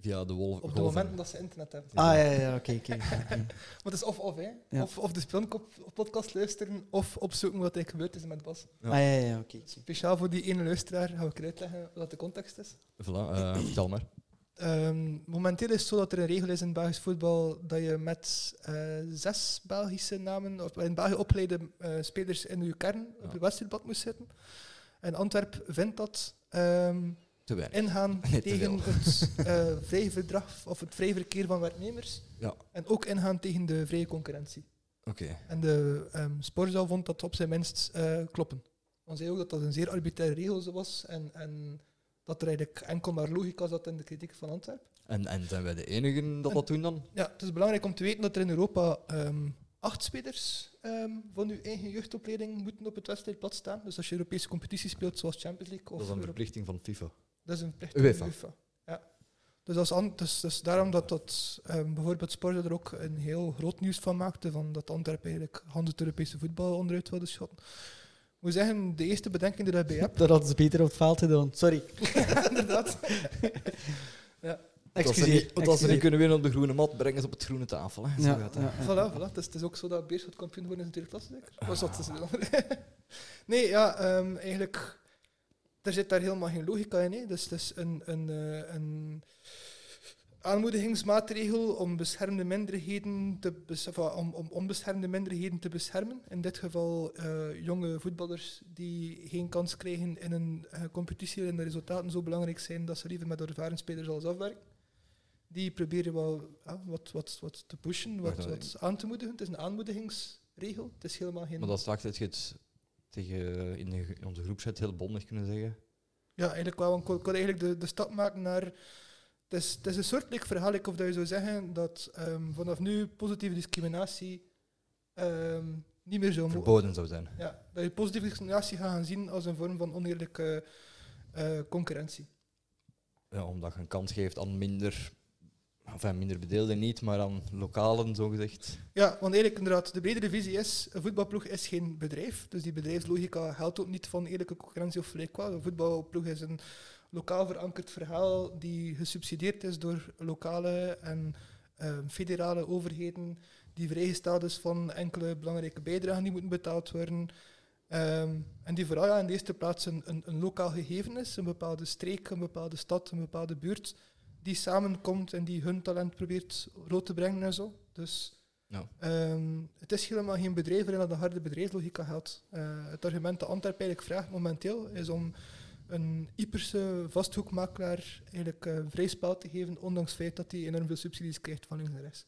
A: Via de wolf.
C: Op de
A: golven.
C: momenten dat ze internet hebben.
A: Ja.
B: Ah, ja, ja, oké, oké.
C: Maar het is of-of, hè.
B: Ja.
C: Of, of de Spelnkop-podcast luisteren, of opzoeken wat er gebeurd is met Bas.
A: <laughs> Ja.
B: Ah, ja, ja, oké.
C: Speciaal voor die ene luisteraar gaan we ook uitleggen wat de context is.
A: Voilà, eh, vertel maar.
C: Ehm, momenteel is het zo dat er een regel is in Belgisch voetbal dat je met eh, zes Belgische namen, of in België opgeleide eh, spelers in je kern op
A: Ja.
C: je wedstrijdbad moet zitten. En Antwerp vindt dat ehm,
A: Te weinig.
C: ingaan
A: Nee, te
C: tegen
A: veel.
C: het eh vrije verdrag of het vrije verkeer van werknemers.
A: Ja.
C: En ook ingaan tegen de vrije concurrentie.
A: Oké.
C: En de ehm Sportzaal vond dat op zijn minst eh, kloppen. Dan zei ook dat dat een zeer arbitraire regel zo was en, en dat er eigenlijk enkel maar logica zat in de kritiek van Antwerpen.
A: En, en zijn wij de enigen dat dat doen dan?
C: Ja, het is belangrijk om te weten dat er in Europa ehm, acht spelers ehm, van uw eigen jeugdopleiding moeten op het wedstrijdblad staan. Dus als je Europese competitie speelt, zoals Champions League
A: Dat
C: of
A: is een
C: Euro-
A: verplichting van FIFA.
C: dat is een verplichting
A: UEFA.
C: van UEFA. Ja. Dus, als an- dus, dus daarom dat, dat ehm, bijvoorbeeld Sporza er ook een heel groot nieuws van maakte, van dat Antwerpen eigenlijk hand het Europese voetbal onderuit wilde schotten. Ik moet zeggen, de eerste bedenking die ik daarbij heb, <laughs>
B: Dat hadden ze beter op het veld gedaan. Sorry.
C: inderdaad.
A: Want als ze
B: Excuseer.
A: niet- want als ze niet
B: excuseer.
A: kunnen winnen op de groene mat, brengen ze op het groene tafel. Hè. Zo
B: Ja,
A: gaat dat.
B: ja, ja.
C: Voilà, voilà. Dus Het, is, het is ook zo dat Beerschot kampioen geworden is in de tweede klasse, zeker? Was dat is een andere. <laughs> Nee, ja, ehm, eigenlijk... Er zit daar helemaal geen logica in. Hè. Dus het is een, een, eh, een aanmoedigingsmaatregel om beschermde minderheden te bes- of, ah, om, om onbeschermde minderheden te beschermen. In dit geval eh, jonge voetballers die geen kans krijgen in een eh, competitie waarin de resultaten zo belangrijk zijn dat ze liever met ervaren spelers alles afwerken. Die proberen wel ja, wat, wat, wat te pushen, wat,
A: Wacht, eh,
C: wat aan te moedigen. Het is een aanmoedigingsregel. Het is helemaal geen...
A: Maar dat straks had je het tegen, in, de- in onze groepchat heel bondig kunnen zeggen.
C: Ja, eigenlijk wel. Want ik wil- ik wil eigenlijk de, de stap maken naar. Het is, het is een soortelijk verhaal, ik of dat je zou zeggen dat ehm, vanaf nu positieve discriminatie ehm, niet meer zou mogen.
A: Verboden zou zijn.
C: Ja, dat je positieve discriminatie gaat gaan zien als een vorm van oneerlijke eh, concurrentie.
A: Ja, omdat je een kans geeft aan minder, enfin, minder bedeelden niet, maar aan lokalen zogezegd.
C: Ja, want eigenlijk inderdaad, de bredere visie is, een voetbalploeg is geen bedrijf. Dus die bedrijfslogica geldt ook niet van eerlijke concurrentie of gelijk wat. Een voetbalploeg is een lokaal verankerd verhaal die gesubsidieerd is door lokale en eh, federale overheden, die vrijgesteld is van enkele belangrijke bijdragen die moeten betaald worden. Ehm, en die vooral ja, in de eerste plaats een, een, een lokaal gegeven is, een bepaalde streek, een bepaalde stad, een bepaalde buurt, die samenkomt en die hun talent probeert rood te brengen en zo. Dus...
A: Ja.
C: Ehm, het is helemaal geen bedrijf waarin dat een harde bedrijfslogica geldt. Eh, het argument dat Antwerp eigenlijk vraagt momenteel is om een Ieperse vastgoedmakelaar eigenlijk eh, vrij spel te geven, ondanks het feit dat hij enorm veel subsidies krijgt van links en rechts.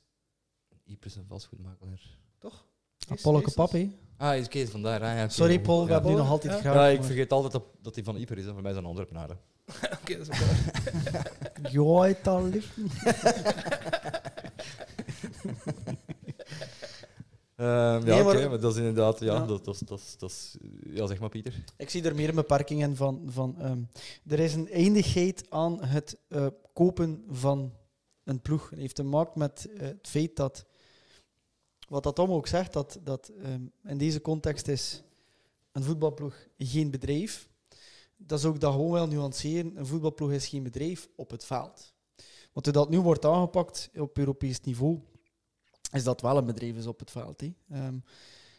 A: Ypres een vastgoedmakelaar.
C: Is-
B: Ah, Polleke
C: is-
B: pap, hè.
A: Ah, is oké, vandaar. Ah, ja, oké.
B: Sorry, Paul, we
A: Ja.
B: hebben nu nog
C: Paul,
B: altijd
C: ja.
B: graag.
A: Ja, ik
B: maar-
A: vergeet altijd dat- dat hij van Ypres is. en Voor mij is dat een Antwerpenaar. hè.
C: <laughs> Oké, dat is ook waar.
B: Ja, het al lief.
A: Ehm,
B: Nee,
A: ja,
B: maar-
A: oké, maar dat is inderdaad... Ja,
B: Ja.
A: Dat, dat, is- dat, is- dat is... Ja, zeg maar, Pieter.
B: Ik zie er meer beperkingen van. van ehm, er is een eindigheid aan het eh, kopen van een ploeg. Het heeft te maken met eh, het feit dat, wat dat Tom ook zegt, dat, dat ehm, in deze context is een voetbalploeg geen bedrijf. Dat is ook dat gewoon wel nuanceren. Een voetbalploeg is geen bedrijf op het veld. Want hoe dat nu wordt aangepakt op Europees niveau, is dat wel een bedrijf is op het veld. hè. Ehm,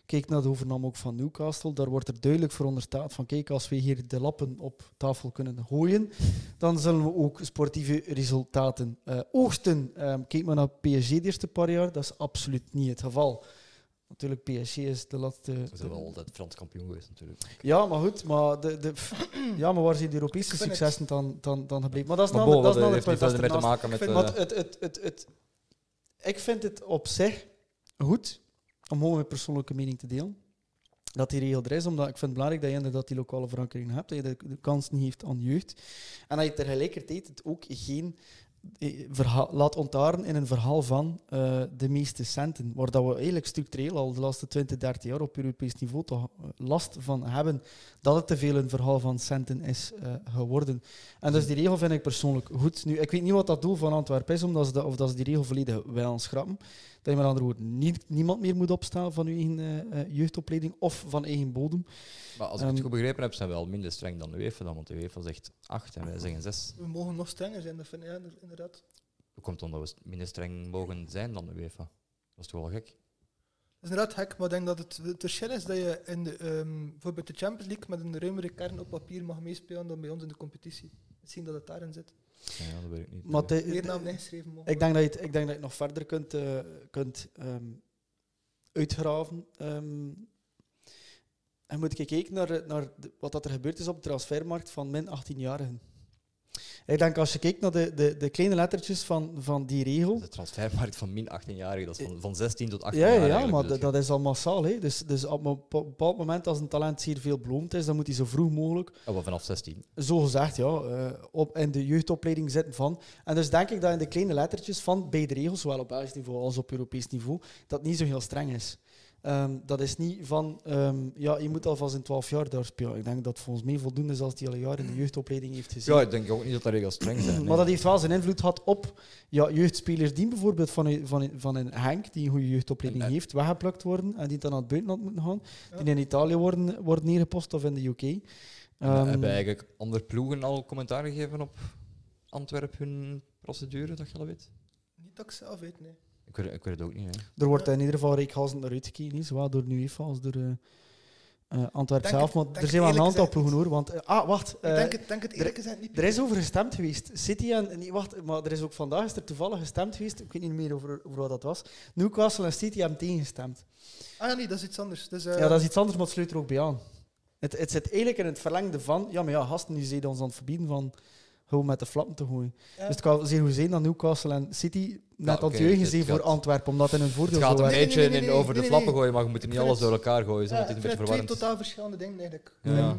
B: kijk naar de overname ook van Newcastle. Daar wordt er duidelijk veronderstaat van, kijk, als we hier de lappen op tafel kunnen gooien, dan zullen we ook sportieve resultaten eh, oogsten. Ehm, kijk maar naar PSG de eerste paar jaar. Dat is absoluut niet het geval. Natuurlijk, PSG is de laatste...
A: Ze zijn wel altijd Frans kampioen geweest, natuurlijk.
B: Ja, maar goed, maar, de, de, pff, ja, maar waar zijn de Europese
C: Ik vind het-
B: successen dan, dan, dan gebleven? Maar dat is
A: Maar
B: een ander-
A: bon, dat
B: dat is nou een ander
A: heeft niet
B: punt,
A: verder
B: dat
A: mee
B: is
A: te maken
B: ernaast.
A: met...
C: Ik vind
A: eh,
B: Want het, het, het, het, ik vind het op zich goed om gewoon mijn persoonlijke mening te delen. Dat die regel er is, omdat ik vind het belangrijk dat je inderdaad die lokale verankering hebt, dat je de, de kans niet heeft aan jeugd. En dat je tegelijkertijd het ook geen eh, verhaal, laat ontaren in een verhaal van eh, de meeste centen, waar dat we eigenlijk structureel al de laatste 20, 30 jaar op Europees niveau toch eh, last van hebben, dat het te veel een verhaal van centen is eh, geworden. En dus die regel vind ik persoonlijk goed. Nu, ik weet niet wat dat doel van Antwerpen is, omdat ze dat, of dat ze die regel volledig willen schrappen. Dat je met andere woorden niet, niemand meer moet opstaan van je eigen eh, eh, jeugdopleiding of van eigen bodem.
A: Maar als ik het
B: Ehm,
A: goed begrepen heb, zijn we wel minder streng dan de UEFA dan, want de UEFA zegt 8 en wij zeggen 6.
C: We mogen nog strenger zijn, dat vind ik ja, inderdaad.
A: Hoe komt het omdat we minder streng mogen zijn dan de UEFA? Dat is toch wel gek?
C: Dat is inderdaad hek, maar ik denk dat het, het verschil is dat je in de, ehm, bijvoorbeeld de Champions League met een ruimere kern op papier mag meespelen dan bij ons in de competitie. Misschien dat het daarin zit.
A: Nee, ja, dat weet ik niet.
B: Maar het-
C: Meer naam ingeschreven mogen.
B: Eh, Ik denk dat je het, ik denk dat je het nog verder kunt, eh, kunt ehm, uitgraven. Ehm, en moet ik kijken naar, eh, naar de- wat dat er gebeurd is op de transfermarkt van min 18-jarigen. Ik denk als je kijkt naar de, de, de kleine lettertjes van, van die regel.
A: de transfermarkt van min 18-jarigen, dat is van, van 16 tot 18
B: Ja,
A: jaar.
B: ja
A: eigenlijk,
B: maar
A: dus
B: dat, dat is al massaal. Hè. Dus, dus op een bepa- bepaald moment, als een talent zeer veel beloond is, dan moet hij zo vroeg mogelijk
A: ja, maar Oh, vanaf 16.
B: zo gezegd, ja, eh, op, in de jeugdopleiding zitten van. En dus denk ik dat in de kleine lettertjes van beide regels, zowel op Belgisch niveau als op Europees niveau, dat niet zo heel streng is. Ehm, dat is niet van, ehm, ja, je moet alvast in 12 jaar daar spelen. Ik denk dat het volgens mij voldoende is als die al een jaar in de jeugdopleiding heeft
C: Dus
B: gezien.
A: Ja, ik denk ook niet dat de regels streng
C: <clears throat>
A: zijn. nee.
B: Maar dat heeft wel zijn invloed gehad op ja, jeugdspelers die bijvoorbeeld van, een- van, een- van een Henk, die een goede jeugdopleiding
A: En- en-
B: heeft, weggeplukt worden en die dan naar het buitenland moeten gaan,
C: Ja.
B: die in Italië worden, worden neergepost of in de UK.
A: En eh,
B: Ehm,
A: Hebben eigenlijk andere ploegen al commentaar gegeven op Antwerpen hun procedure, dat je dat weet?
C: Niet dat ik zelf weet, nee.
A: Ik weet, ik weet het ook niet. Hè.
B: Er wordt in ieder geval Rick Halsend naar uitgekeken, hè, zowel door nu als door eh eh, Antwerpen
C: Denk
B: zelf.
C: het-
B: Maar
C: denk
B: er
C: het
B: zijn wel een
C: eerlijk
B: aantal
C: gezegd
B: ploegen hoor. Want, eh, ah, wacht.
C: ik
B: eh,
C: denk het, denk het
B: er-
C: eerlijk gezegd niet.
B: er is over gestemd geweest. City en. Nee, wacht, maar er is ook vandaag is er toevallig gestemd geweest. Ik weet niet meer over, over wat dat was. Newcastle en City hebben tegengestemd.
C: Ah ja, nee, dat is iets anders. Dus, eh,
B: Ja, dat is iets anders, maar het sluit er ook bij aan. Het, het zit eigenlijk in het verlengde van. Ja, maar ja, gasten die zeiden ons aan het verbieden van gewoon met de flappen te gooien.
C: ja.
B: Dus het kan zeer goed zijn dat Newcastle en City net
A: oké,
B: aan het juichen
A: het
B: zijn voor
A: gaat-
B: Antwerpen, omdat in hun
A: Het
B: voordeel
A: gaat
B: zo
A: een
B: werkt.
C: Nee, nee,
A: beetje
C: nee, nee,
A: in over de
C: nee, nee,
A: flappen
C: nee.
A: gooien, maar je moet er niet
C: Ik vind
A: alles door
C: het-
A: elkaar
B: dus
A: gooien,
C: Ja,
A: want het is
C: ik
A: een
C: vind
A: beetje
C: het twee
A: verwarrend.
C: totaal verschillende dingen eigenlijk.
A: Ja.
C: Ehm,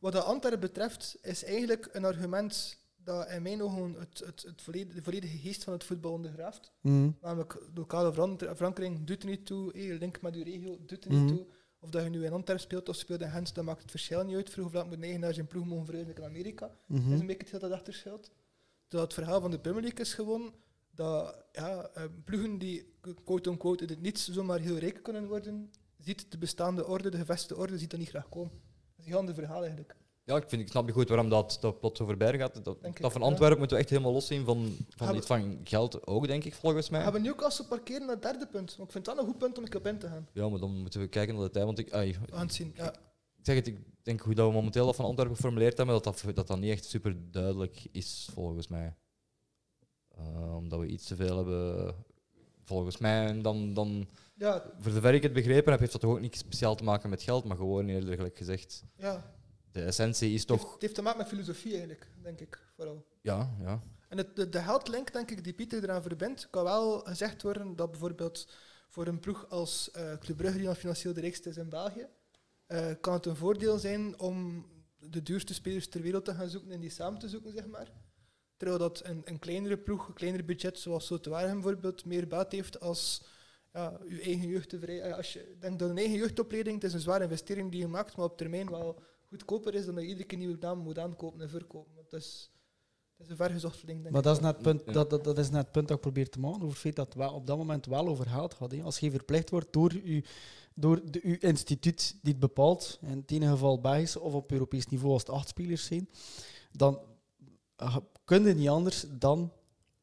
C: wat de Antwerpen betreft, is eigenlijk een argument dat in mijn ogen het, het, het volledige, de volledige geest van het voetbal ondergraaft.
B: Mm.
C: Namelijk, lokale veran- verankering doet er niet toe. eh, link met uw regio doet er niet
B: Mhm.
C: toe. Of dat je nu in Antwerpen speelt of speelt in Gent, dat maakt het verschil niet uit. Vroeg of laat moet een eigenaar zijn ploeg mogen verhuizen naar Amerika.
B: Mhm.
C: Dat is een beetje het dat daarachter schuilt. Dat het verhaal van de Premier League is gewoon dat ja, eh, ploegen die quote-unquote in het niets zomaar heel rijk kunnen worden, ziet de bestaande orde, de gevestigde orde, ziet dat niet graag komen. Dat is een heel ander verhaal eigenlijk.
A: Ja, ik, vind, ik snap niet goed waarom dat, dat plots zo voorbij gaat. Dat,
C: Denk ik,
A: dat van
C: ja.
A: Antwerpen moeten we echt helemaal los zien van, van,
C: Hebben-
A: dit van geld ook, denk ik, volgens mij.
C: Gaan we nu ook als ze parkeren naar het derde punt? Want ik vind dat een goed punt om ik op in te gaan.
A: Ja, maar dan moeten we kijken naar de tijd. Want ik, ai,
C: We gaan het zien. Ja.
A: ik zeg het, ik denk hoe dat we momenteel dat van Antwerpen geformuleerd hebben, dat dat, dat, dat niet echt super duidelijk is, volgens mij. Eh, omdat we iets te veel hebben volgens mij. En dan, dan,
C: Ja,
A: voor zover ik het begrepen heb, heeft dat toch ook niks speciaal te maken met geld, maar gewoon eerlijk gezegd.
C: ja.
A: De essentie is
C: Het
A: toch.
C: heeft, het heeft te maken met filosofie eigenlijk, denk ik, vooral.
A: Ja, ja.
C: En het, de, de heldlink, denk ik, die Pieter eraan verbindt, kan wel gezegd worden dat bijvoorbeeld voor een ploeg als eh Club Brugge, die dan financieel de rijkste is in België, eh, kan het een voordeel zijn om de duurste spelers ter wereld te gaan zoeken en die samen te zoeken, zeg maar. Terwijl dat een, een kleinere ploeg, een kleiner budget, zoals Sotewaarhem bijvoorbeeld, meer baat heeft als ja, je eigen jeugd te vrij- eh, Als je denkt dat een eigen jeugdopleiding, het is een zware investering die je maakt, maar op termijn wel goedkoper is dan dat je iedere keer nieuwe naam moet aankopen en verkopen. Want dat is, dat is een vergezocht ding, denk
B: Maar
C: ik.
B: dat is, net het
A: Ja.
B: punt, dat, dat, dat is net het punt dat ik probeer te maken over het feit dat het wel op dat moment wel over geld gaat. Hè. Als je verplicht wordt door, uw, door de, uw instituut die het bepaalt, in het ene geval Belgisch of op Europees niveau als het acht spelers zijn, dan eh, kun je niet anders dan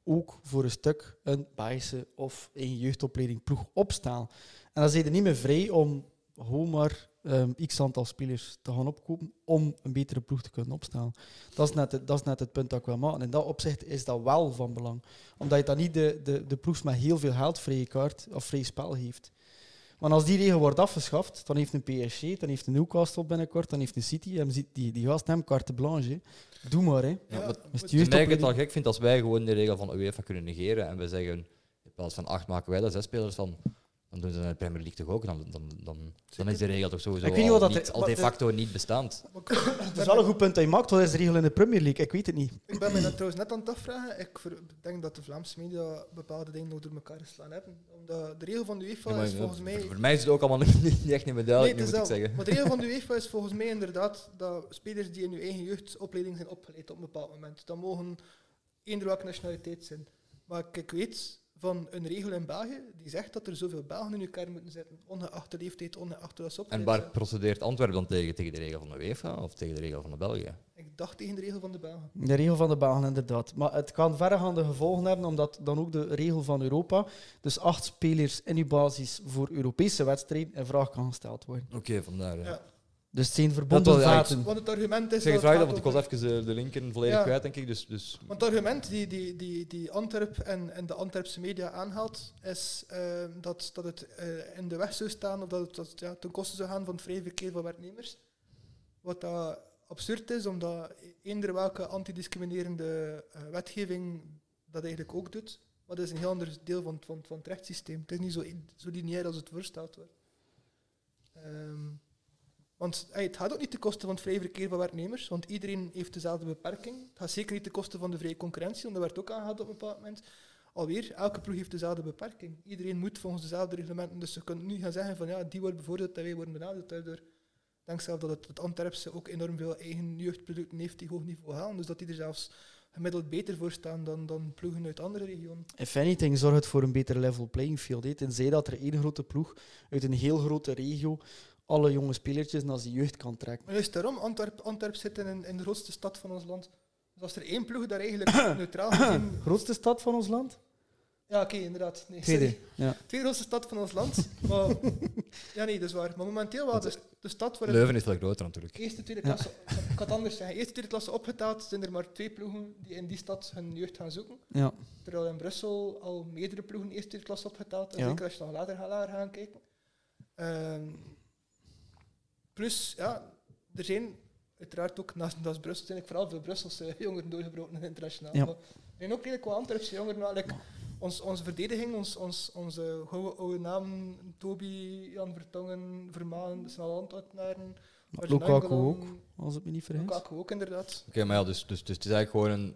B: ook voor een stuk een Belgische of een jeugdopleiding ploeg opstaan. En dan zijn je niet meer vrij om gewoon maar ehm, x aantal spelers te gaan opkopen om een betere ploeg te kunnen opstaan. Dat is net het, dat is net het punt dat ik wil maken. In dat opzicht is dat wel van belang. Omdat je dan niet de, de, de ploegs met heel veel geld vrije kaart of vrij spel heeft. Want als die regel wordt afgeschaft, dan heeft een PSG, dan heeft een Newcastle binnenkort, dan heeft een City. En ziet die, die gast hem carte blanche. hè. Doe maar, hè.
A: ja, maar
B: Is
A: Toen
B: het juist
A: ik het al
B: opleiding?
A: gek vind als wij gewoon de regel van de UEFA kunnen negeren en we zeggen, in plaats van acht maken wij er zes spelers van, dan doen ze dat in de Premier League toch ook. Dan, dan, dan, dan is de regel toch sowieso
B: Ik weet niet
A: al,
B: wat dat
A: niet-
B: er-
A: al de
B: wat er-
A: facto niet bestaand.
C: Maar ik- ik
B: Dat
C: ben
B: is wel een
C: mij-
B: goed punt dat je maakt. Wat is de regel in de Premier League? Ik weet het niet.
C: Ik ben mij dat trouwens net aan het afvragen. Ik ver- denk dat de Vlaamse media bepaalde dingen nog door elkaar geslaan hebben. Omdat de regel van de UEFA
A: Ja, maar
C: is volgens
A: voor-
C: mij...
A: Voor mij is het ook allemaal <laughs> niet, niet echt niet meer duidelijk,
C: het
A: nu
C: is
A: moet ik
C: dat.
A: zeggen.
C: Maar de regel
A: <laughs>
C: van de UEFA is volgens mij inderdaad dat spelers die in hun eigen jeugdopleiding zijn opgeleid op een bepaald moment, dat mogen eender welke nationaliteit zijn. Maar ik- ik weet van een regel in België die zegt dat er zoveel Belgen in elkaar moeten zitten, ongeacht de leeftijd, ongeacht dat ze
A: En
C: opgeleid
A: waar
C: zijn.
A: procedeert Antwerpen dan tegen? Tegen de regel van de UEFA of tegen de regel van de België?
C: Ik dacht tegen de regel van de Belgen.
B: De regel van de Belgen, inderdaad. Maar het kan verregaande gevolgen hebben, omdat dan ook de regel van Europa, dus acht spelers in uw basis voor Europese wedstrijden, in vraag kan gesteld worden.
A: Oké, vandaar.
C: Ja.
B: Dus het zijn
A: Dat
B: verbonden
A: wel, ja, ik-
B: vaten.
C: Want het argument
A: Ik zeg
C: is
A: het
C: dat
A: graag,
C: het
A: dat,
C: gaat
A: want ik
C: over-
A: was even eh, de linker volledig
C: Ja.
A: kwijt, denk ik. Dus, dus
C: Want het argument die, die, die, die Antwerp en, en de Antwerpse media aanhaalt, is eh, dat, dat het eh, in de weg zou staan of dat het, dat het, ja, ten koste zou gaan van het vrije verkeer van werknemers. Wat dat absurd is, omdat eender welke antidiscriminerende eh, wetgeving dat eigenlijk ook doet. Maar dat is een heel ander deel van, het- van, het- van het rechtssysteem. Het is niet zo, zo lineair als het voorstelt wordt. Ehm, want ey, het gaat ook niet ten koste van het vrije verkeer van werknemers, want iedereen heeft dezelfde beperking. Het gaat zeker niet ten koste van de vrije concurrentie, want dat werd ook aangehaald op een bepaald moment. Alweer, elke ploeg heeft dezelfde beperking. Iedereen moet volgens dezelfde reglementen, dus je kunt nu gaan zeggen van ja, die wordt bevoordeeld en wij worden benadeeld daardoor. Ik denk zelf dat het, het Antwerpse ook enorm veel eigen jeugdproducten heeft die hoog niveau halen, dus dat die er zelfs gemiddeld beter voor staan dan, dan ploegen uit andere regionen.
B: If anything, zorgt het voor een beter level playing field. hè. Tenzij dat er één grote ploeg uit een heel grote regio alle jonge spelertjes naar zijn jeugd kan trekken.
C: Maar juist daarom, Antwerp, Antwerp zit in, in de grootste stad van ons land. Dus als er één ploeg daar <coughs> eigenlijk neutraal gezien...
B: Grootste stad van ons land?
C: Ja, oké, inderdaad. Nee, sorry.
B: Tweede. Ja.
C: tweede grootste stad van ons land.
B: <laughs>
C: Maar, ja, nee, dat is waar. Maar momenteel wel de, de stad waar het
A: Leuven is veel groter natuurlijk.
C: eerste, tweede
B: Ja.
C: klasse... Ik kan het anders zeggen. Eerste, tweede klasse opgeteld zijn er maar twee ploegen die in die stad hun jeugd gaan zoeken.
B: ja.
C: Terwijl in Brussel al meerdere ploegen eerste, tweede klasse opgeteld. En
B: Ja.
C: zeker als je nog later gaat lager gaan kijken. Ehm, plus, ja, er zijn uiteraard ook naast, naast Brussel zijn ik vooral veel Brusselse <laughs> jongeren doorgebroken internationaal.
B: Ja.
C: Maar er zijn ook redelijk wat Antwerpse jongeren. wel, like, ons, onze verdediging, ons, ons, onze oude, oude namen, Toby, Jan Vertongen, Vermaan, dat zijn al Antwerpenaren.
B: Maar
C: Arjen
B: Lukaku
C: Engelan,
B: ook, als ik me niet vergis.
C: Lukaku ook, inderdaad.
A: Oké, maar ja, dus, dus, dus het is eigenlijk gewoon een...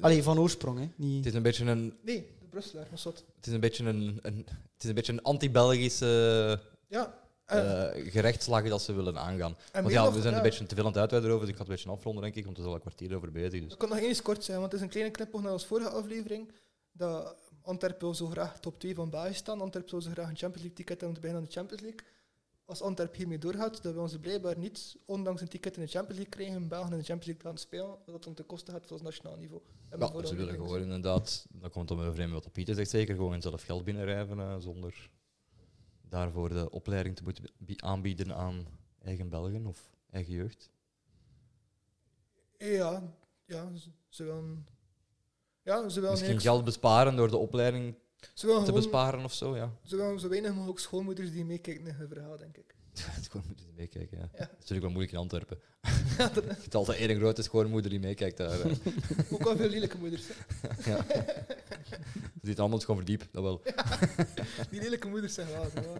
B: Allee, van oorsprong, hè. Niet...
A: Het is een beetje een,
C: Nee, de Brusselaar, maar zot.
A: het is een, beetje een, een, het is een, beetje een anti-Belgische
C: Ja. eh,
A: eh gerechtsslag dat ze willen aangaan.
C: en
A: Want
C: meer
A: ja,
C: nog,
A: we zijn
C: ja.
A: een beetje te veel aan het uitweiden over, dus ik had het een beetje afronden, denk ik, want er is al een kwartier over bezig. Dus.
C: Dat kan nog eens kort zijn, want het is een kleine knipoog naar onze vorige aflevering. Dat Antwerpen wil zo graag top 2 van België staan. Antwerpen wil zo graag een Champions League ticket hebben om te beginnen aan de Champions League. Als Antwerpen hiermee doorgaat, dat we ons blijkbaar niet, ondanks een ticket in de Champions League krijgen, in België in de Champions League laten spelen, dat dat dan ten koste gaat voor ons nationaal niveau. En
A: Ja,
C: voor
A: ze
C: onze
A: willen
C: dingen.
A: gewoon inderdaad, dat komt dan weer overeen met wat de Pieter zegt, zeker gewoon zelf geld binnenrijven eh, zonder daarvoor de opleiding te moeten bi- aanbieden aan eigen Belgen of eigen jeugd.
C: Ja, ja, ze- ze willen... Ja, ze willen
A: Misschien
C: eigenlijk-
A: geld besparen door de opleiding
C: Ze willen
A: te
C: gewoon-
A: besparen of zo, ja. <laughs>
C: ze willen zo weinig mogelijk schoolmoeders die meekijken in hun verhaal, denk ik.
A: Het gewoon moeten die meekijken, ja.
C: Ja.
A: Dat is natuurlijk wel moeilijk in
C: <laughs>
A: Antwerpen. <laughs> Het is altijd één grote schoonmoeder die meekijkt daar.
C: <laughs>
A: hè.
C: Ook al veel lelijke moeders. hè.
A: ja. Die het allemaal gewoon verdiep, dat wel.
C: Die lelijke moeders zijn wel. zo, ja.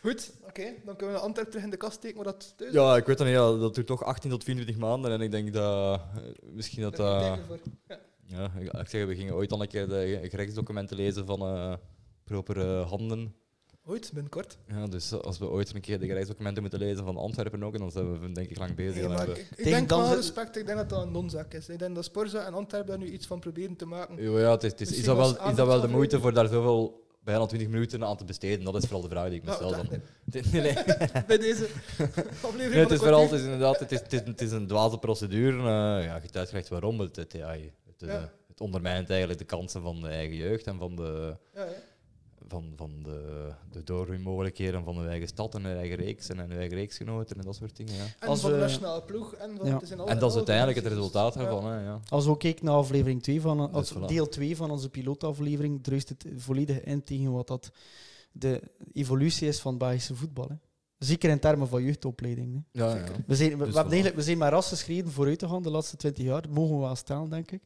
C: Goed, oké. Dan kunnen we de Antwerp terug in de kast steken, maar dat thuis
A: Ja, ik weet dat niet, ja, dat duurt toch 18 tot 24 maanden en ik denk dat eh, misschien dat...
C: Daar heb ik
A: eh,
C: tijden voor.
A: Ja, ik, ik zeg, we gingen ooit al een keer de gerechtsdocumenten lezen van eh propere handen.
C: Ooit, binnenkort.
A: Ja, dus als we ooit een keer de gerechtsdocumenten moeten lezen van Antwerpen ook, dan zijn we denk ik lang bezig.
C: Nee,
A: Dan
C: maar ik,
A: hebben
C: ik
B: Tegen
C: denk
B: dan
C: wel
B: ze-
C: respect, ik denk dat dat een nonzaak is. Ik denk dat Sporza en Antwerpen daar nu iets van proberen te maken.
A: we- Ja, ja, het is, het is, is,
C: Misschien
A: dat
C: was
A: wel, is dat wel de
C: avondaflevering-
A: moeite voor daar zoveel, bijna 20 minuten aan te besteden? Dat is vooral de vraag die ik me
C: Nou,
A: stel.
C: dat-
A: Dan.
C: <laughs>
A: Nee, nee.
C: Bij
A: <laughs>
C: deze <laughs> aflevering
A: Nee, het
C: van
A: is
C: de
A: vooral,
C: kwartier.
A: het is inderdaad, het is, het is, het is een dwaze procedure. eh, ja, je hebt uitgelegd waarom. Het, het, ja, je- het, eh,
C: Ja.
A: het ondermijnt eigenlijk de kansen van de eigen jeugd en van de,
C: Ja, ja.
A: van, van de, de doorgroeimogelijkheden van hun eigen stad en hun eigen reeks en hun eigen reeksgenoten en dat soort dingen. Ja.
C: En
B: Als
C: van de
B: we-
C: nationale ploeg. En, van,
B: Ja.
C: het is in alle-
A: En dat is
C: alle
A: uiteindelijk het
C: dimensies.
A: resultaat
C: Ja.
A: daarvan. Hè, ja.
B: Als we kijken naar aflevering 2 van,
A: Dus
B: of
A: voilà.
B: deel 2 van onze pilootaflevering, druist het volledig in tegen wat dat de evolutie is van Belgische voetbal. Hè. Zeker in termen van jeugdopleiding. Hè.
A: Ja,
C: Zeker.
B: We zijn, we, we
A: Dus voilà.
B: hebben eigenlijk, we zijn maar ras geschreven vooruit te gaan de laatste 20 jaar. Dat mogen we wel stellen, denk ik.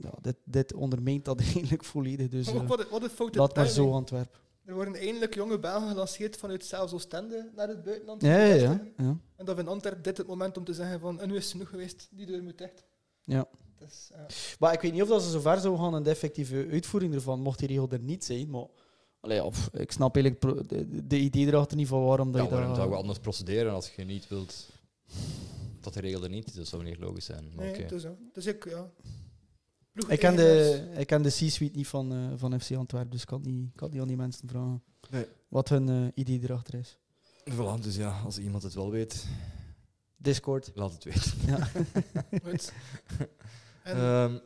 B: Ja, dit, dit ondermijnt dat <laughs> eigenlijk volledig. Dus
C: Maar
B: eh,
C: ook wat, wat een foute
B: laat maar zo
C: timing.
B: Antwerpen.
C: Er worden eindelijk jonge Belgen gelanceerd vanuit zelfs Oostende naar het buitenland.
B: Ja, ja, ja. ja.
C: En dat vindt Antwerp dit het moment om te zeggen van en nu is het genoeg geweest, die deur moet dicht.
B: Ja.
C: Het is, eh, ja.
B: Maar ik weet niet of dat ze zo ver zouden gaan in de effectieve uitvoering ervan, mocht die regel er niet zijn. Maar allee, of, ik snap eigenlijk pro- de, de idee erachter niet van waarom dat
A: Ja,
B: je
A: waarom
B: dat...
A: zou we anders procederen als je niet wilt dat de regel er niet is? Dat zou niet logisch zijn. Maar
C: Nee,
A: oké.
C: dus, ja. dus ik, ja. Ploeg
B: ik ken
C: eigenaars.
B: de, ik ken de C-suite niet van, eh, van FC Antwerpen, dus ik kan het niet, ik kan het niet aan die mensen vragen
A: Nee.
B: wat hun eh, idee erachter is.
A: Voilà, dus ja, als iemand het wel weet,
B: Discord.
A: laat het weten. <laughs>
C: dus, Goed. En
A: Ehm,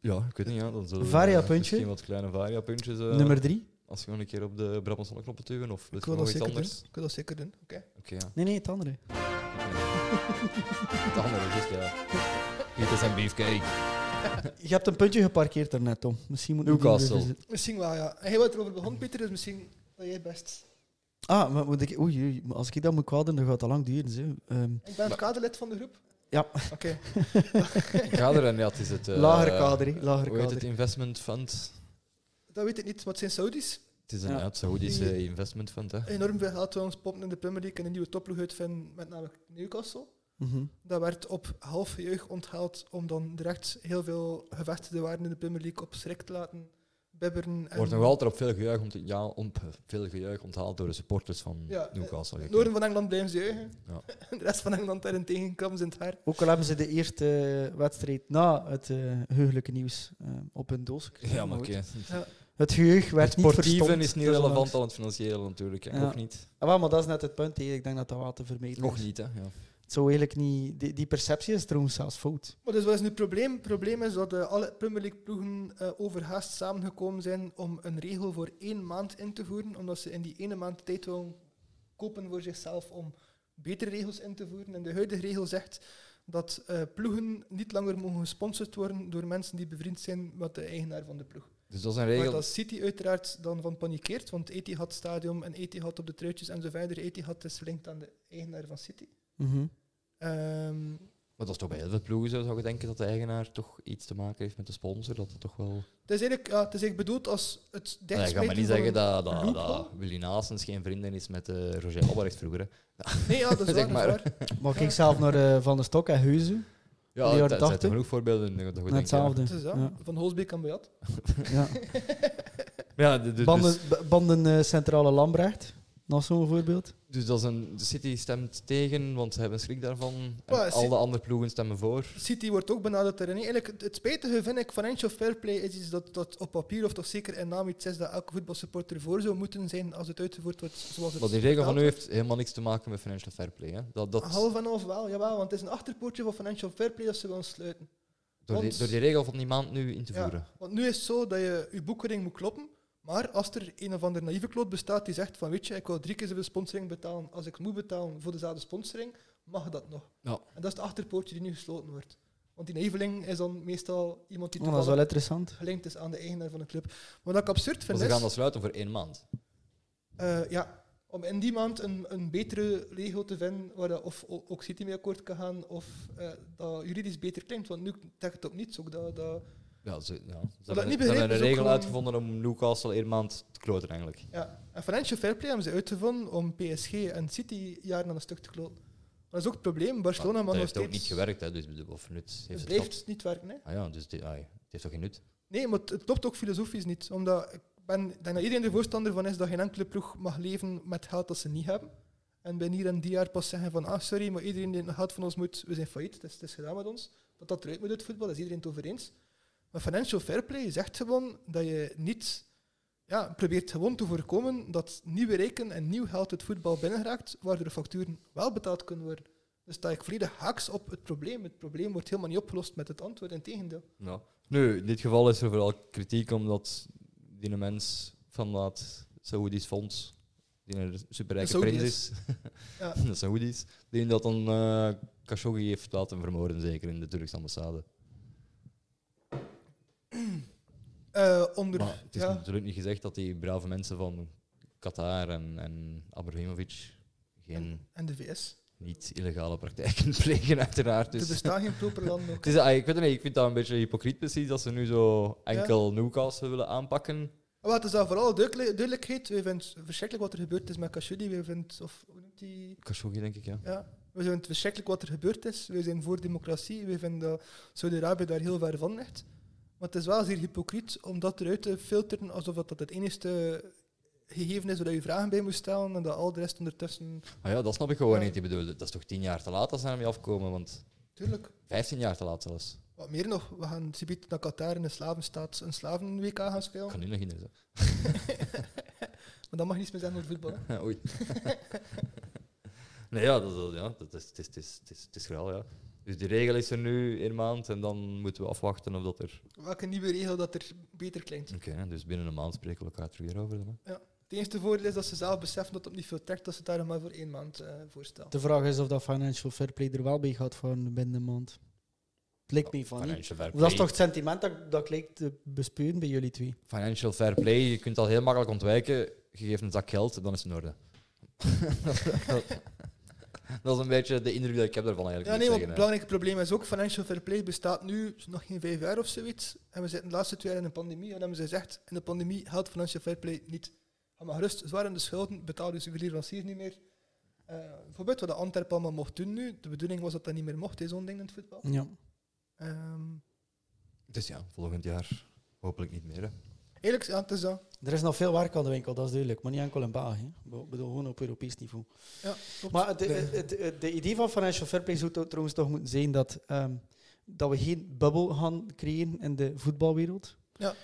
A: ja, ik weet niet. Ja, dan zullen we,
B: Varia
A: eh,
B: puntje.
A: Misschien wat kleine variapuntjes. eh,
B: Nummer drie?
A: Als je gewoon een keer op de Brabantsonne knoppen duwen of wil
C: ik
A: je
C: wil
A: nog
C: dat
A: iets
C: zeker
A: anders?
C: doen. Ik wil dat zeker doen. Oké.
A: Oké, ja.
B: Nee, nee, het andere.
A: <laughs> Het andere is ja. Dit is een beefcake.
B: Je hebt een puntje geparkeerd daarnet, Tom. Misschien moet ik die
A: Newcastle.
B: weer verzetten.
C: Misschien wel, ja. En jij wat erover begon, Pieter, dus misschien dat jij best.
B: Ah, maar moet ik, oei, oei, maar als ik dat moet kwaden, dan gaat dat lang duren. Zo. Ehm,
C: Ik ben het
A: Nou.
C: kaderlid van de groep.
B: Ja.
C: Oké.
A: Kader en <laughs> ja, het is het... eh,
B: Lager kader, hè, lager
A: Hoe heet het?
B: kader.
A: Investment fund.
C: Dat weet ik niet, wat zijn Saudis?
A: Het is een
B: Ja.
A: ja. Saoedische
C: Die- Eh,
A: investment fund, hè.
C: Enorm veel geld we ons pompen in de Premier League en een nieuwe topploeg uitvinden, met name Newcastle.
B: mhm.
C: Dat werd op half jeugd onthaald om dan direct heel veel gevestigde waarden in de Premier League op schrik te laten bibberen.
A: Er
C: en-
A: wordt nog altijd op veel gejuich, ont ja, ont veel gejuich onthaald door de supporters van
C: Ja,
A: Newcastle.
C: In het
A: Ik-
C: noorden van Engeland blijven ze juichen.
A: Ja.
C: <laughs> De rest van Engeland daarentegen krammen ze in het haar.
B: Ook al hebben ze de eerste eh, wedstrijd na het eh heugelijke nieuws eh, op hun doos gekregen.
A: Ja, maar
B: goed.
A: oké.
B: Het geheugen werd
A: Het sportieve
B: verstomd,
A: is niet
B: desondanks.
A: relevant aan het financiële natuurlijk. hè.
B: Ja.
A: Nog niet.
B: Ah, wel, maar dat is net het punt. hè. Ik denk dat dat wel te vermijden
A: Nog
B: is.
A: niet, hè. Ja.
B: Het zou eigenlijk niet... Die, die perceptie is trouwens zelfs fout.
C: Maar dus wat is nu het probleem? Het probleem is dat eh, alle Premier League ploegen eh, overhaast samengekomen zijn om een regel voor één maand in te voeren, omdat ze in die ene maand tijd willen kopen voor zichzelf om betere regels in te voeren. En de huidige regel zegt dat eh, ploegen niet langer mogen gesponsord worden door mensen die bevriend zijn met de eigenaar van de ploeg.
A: Dus dat is een
C: Maar
A: regel.
C: dat City uiteraard dan van panikeert, want Etihad Stadium en Etihad op de truitjes en zo verder. Etihad is gelinkt aan de eigenaar van City.
B: Mhm.
C: Ehm,
A: Maar dat is toch bij heel veel ploegen zo, zou je denken dat de eigenaar toch iets te maken heeft met de sponsor. Dat dat toch wel...
C: het, is eigenlijk, ja, het is eigenlijk bedoeld als het
A: Ja, ik ga
C: dichtsmijten
A: maar niet
C: van
A: zeggen
C: een-
A: dat, dat, dat
C: loophole?
A: Willy Nasens geen vrienden is met eh, Roger Albrecht vroeger. hè.
C: Nee, ja, dat
A: <laughs>
C: is
A: Zeg
C: waar. dat is
A: maar.
C: waar.
B: Maar kijk zelf naar eh, Van der Stok en Huizen.
A: Ja,
B: In de
A: dat
B: jaren
A: dat zijn
B: 80?
A: genoeg voorbeelden. eh, Dat je denkt,
B: Hetzelfde.
C: Het is dat.
B: Ja.
C: Van Holsbeek aan Beat.
B: Ja.
A: Ja, ja dus,
B: Banden,
A: dus,
B: b- banden eh, Centrale Lambrecht, nog zo'n voorbeeld. Oh,
A: dus dat is een, de City stemt tegen, want ze hebben schrik daarvan. En
C: Maar,
A: al
C: Ci-
A: de andere ploegen stemmen voor.
C: City wordt ook benaderd daarin. Eigenlijk, het, het spijtige vind ik, financial fair play is iets dat, dat op papier of toch zeker in naam iets is dat elke voetbalsupporter voor zou moeten zijn als het uitgevoerd wordt zoals het
A: Maar die regel van
C: vertaald
A: nu heeft helemaal niks te maken met financial fair play. Hè. Dat, dat,
C: Half en half wel, jawel, want het is een achterpoortje van Financial Fairplay dat ze willen sluiten.
A: door, die,
C: want-
A: door die regel van die maand nu in te
C: Ja.
A: voeren.
C: Want nu is het zo dat je je boekhouding moet kloppen, maar als er een of ander naïeve kloot bestaat die zegt van weet je, ik wil drie keer zoveel sponsoring betalen als ik moet betalen voor dezelfde sponsoring, mag dat nog.
A: Ja.
C: En dat is het achterpoortje die nu gesloten wordt. Want die heveling is dan meestal iemand die
B: Oh, dat is wel
C: toevallig
B: interessant.
C: gelinkt is aan de eigenaar van de club. Wat ik absurd
A: Maar
C: vind
A: ze
C: is...
A: gaan dat sluiten voor één maand.
C: Eh, ja, om in die maand een, een betere Lego te vinden waar dat of o- ook City mee akkoord kan gaan of eh, dat juridisch beter klinkt. Want nu trekt het op niets. Ook dat, dat,
A: Ja, ze, ja. ze
C: niet
A: hebben, ze
C: begrepen,
A: hebben een
C: is ook
A: regel
C: gewoon-
A: uitgevonden om Newcastle één maand te kloten, eigenlijk.
C: ja. En Financial Fair Play hebben ze uitgevonden om PSG en City jaren aan een stuk te kloten. Dat is ook het probleem.
A: Maar
C: Barcelona
A: dat
C: mag nog
A: heeft ook
C: steeds...
A: niet gewerkt, hè, dus bedoel, of nut heeft
C: Het
A: het
C: blijft
A: gehad.
C: niet werken. Hè.
A: Ah ja, dus dit, ah, ja, het heeft toch geen nut?
C: Nee, maar het, het klopt ook filosofisch niet. Omdat ik ben, ik denk dat iedereen er voorstander van is dat geen enkele ploeg mag leven met geld dat ze niet hebben. En bij hier en die jaar pas zeggen van, ah sorry, maar iedereen die geld van ons moet, we zijn failliet, het is, het is gedaan met ons. Dat dat eruit moet uit voetbal, daar is iedereen het over eens. Maar financial fair play zegt gewoon dat je niet ja, probeert gewoon te voorkomen dat nieuwe reken en nieuw geld het voetbal binnenraakt, waardoor de facturen wel betaald kunnen worden. Dus sta ik volledig haaks op het probleem. Het probleem wordt helemaal niet opgelost met het antwoord, in tegendeel.
A: Ja. Nu, in dit geval is er vooral kritiek omdat die mens van dat Saoedisch fonds, die een superrijke
C: De
A: prins
C: Saoedi's.
A: is,
C: Ja.
A: <laughs> de Saoedi's, die dat dan eh Khashoggi heeft laten vermoorden, zeker in de Turkse ambassade.
C: Eh, onder,
A: Maar het is
C: ja.
A: natuurlijk niet gezegd dat die brave mensen van Qatar en, en Abramovich geen
C: En de VS.
A: niet-illegale praktijken <laughs> plegen, uiteraard.
C: Er
A: Dus.
C: bestaan geen
A: <laughs>
C: proper landen ook.
A: Het is, ah, ik, weet het niet, ik vind dat een beetje hypocriet precies, dat ze nu zo enkel Newcastle willen aanpakken.
C: Maar Ah, het is dan vooral duidelijk- duidelijkheid. We vinden het verschrikkelijk wat er gebeurd is met Khashoggi. We vinden, het- of hoe noemt die?
A: Khashoggi, denk ik, ja.
C: Ja. We vinden het verschrikkelijk wat er gebeurd is. We zijn voor democratie. We vinden dat Saudi-Arabië daar heel ver van ligt. Maar het is wel zeer hypocriet om dat eruit te filteren alsof dat dat het enige gegeven is waar je vragen bij moet stellen en dat al de rest ondertussen...
A: Ah ja, dat snap ik gewoon
C: Ja.
A: niet. Ik bedoel, dat is toch tien jaar te laat als ze daarmee afkomen, want
C: Tuurlijk.
A: vijftien jaar te laat zelfs.
C: Wat meer nog, we gaan subiet naar Qatar in de slavenstaat een slaven-WK gaan spelen.
A: Ik kan nu nog in de
C: Maar dat mag niets meer zijn over voetbal. hè.
A: <laughs> Oei. nee, ja, dat, dat- ja, dat is, het, is, het, is, het, is, het is graal, ja. Dus die regel is er nu één maand en dan moeten we afwachten of dat er...
C: Welke nieuwe regel dat er beter klinkt.
A: Oké, dus binnen een maand spreken we elkaar terug hierover. Dan, hè.
C: Het enige voordeel is dat ze zelf beseffen dat het niet veel trekt, dat ze het daarom maar voor één maand eh voorstellen.
B: De vraag is of dat financial fair play er wel bij gaat voor binnen een maand. Het lijkt me van niet.
A: Financial fair
B: Dat is
A: play.
B: toch het sentiment dat, dat ik lijkt te bespeuren bij jullie twee.
A: Financial fair play, je kunt dat heel makkelijk ontwijken. Je geeft een zak geld, dan is het in orde. <laughs> dat is een beetje de indruk dat ik heb daarvan eigenlijk. moet ik
C: Ja, nee, want het
A: zeggen, hè.
C: belangrijke probleem is ook, financial fair play bestaat nu nog geen vijf jaar of zoiets. En we zitten de laatste twee jaar in een pandemie. En hebben ze gezegd, in de pandemie geldt financial fair play niet. Ga maar gerust, zwaar in de schulden, betaal dus je leveranciers niet meer. Eh, bijvoorbeeld wat de Antwerpen allemaal mocht doen nu. De bedoeling was dat dat niet meer mocht, hè, zo'n ding in het voetbal.
B: Ja.
C: Ehm,
A: Dus ja, volgend jaar hopelijk niet meer. Hè.
C: eigenlijk, ja, het is dat.
B: Er is nog veel werk aan de winkel, dat is duidelijk. Maar niet enkel in België. Ik bedoel, gewoon op Europees niveau.
C: Ja, klopt.
B: Maar het, het, het- het- de idee van Financial Fair Play zou toch- trouwens toch moeten zijn dat, ehm, dat we geen bubbel gaan creëren in de voetbalwereld.
C: Ja.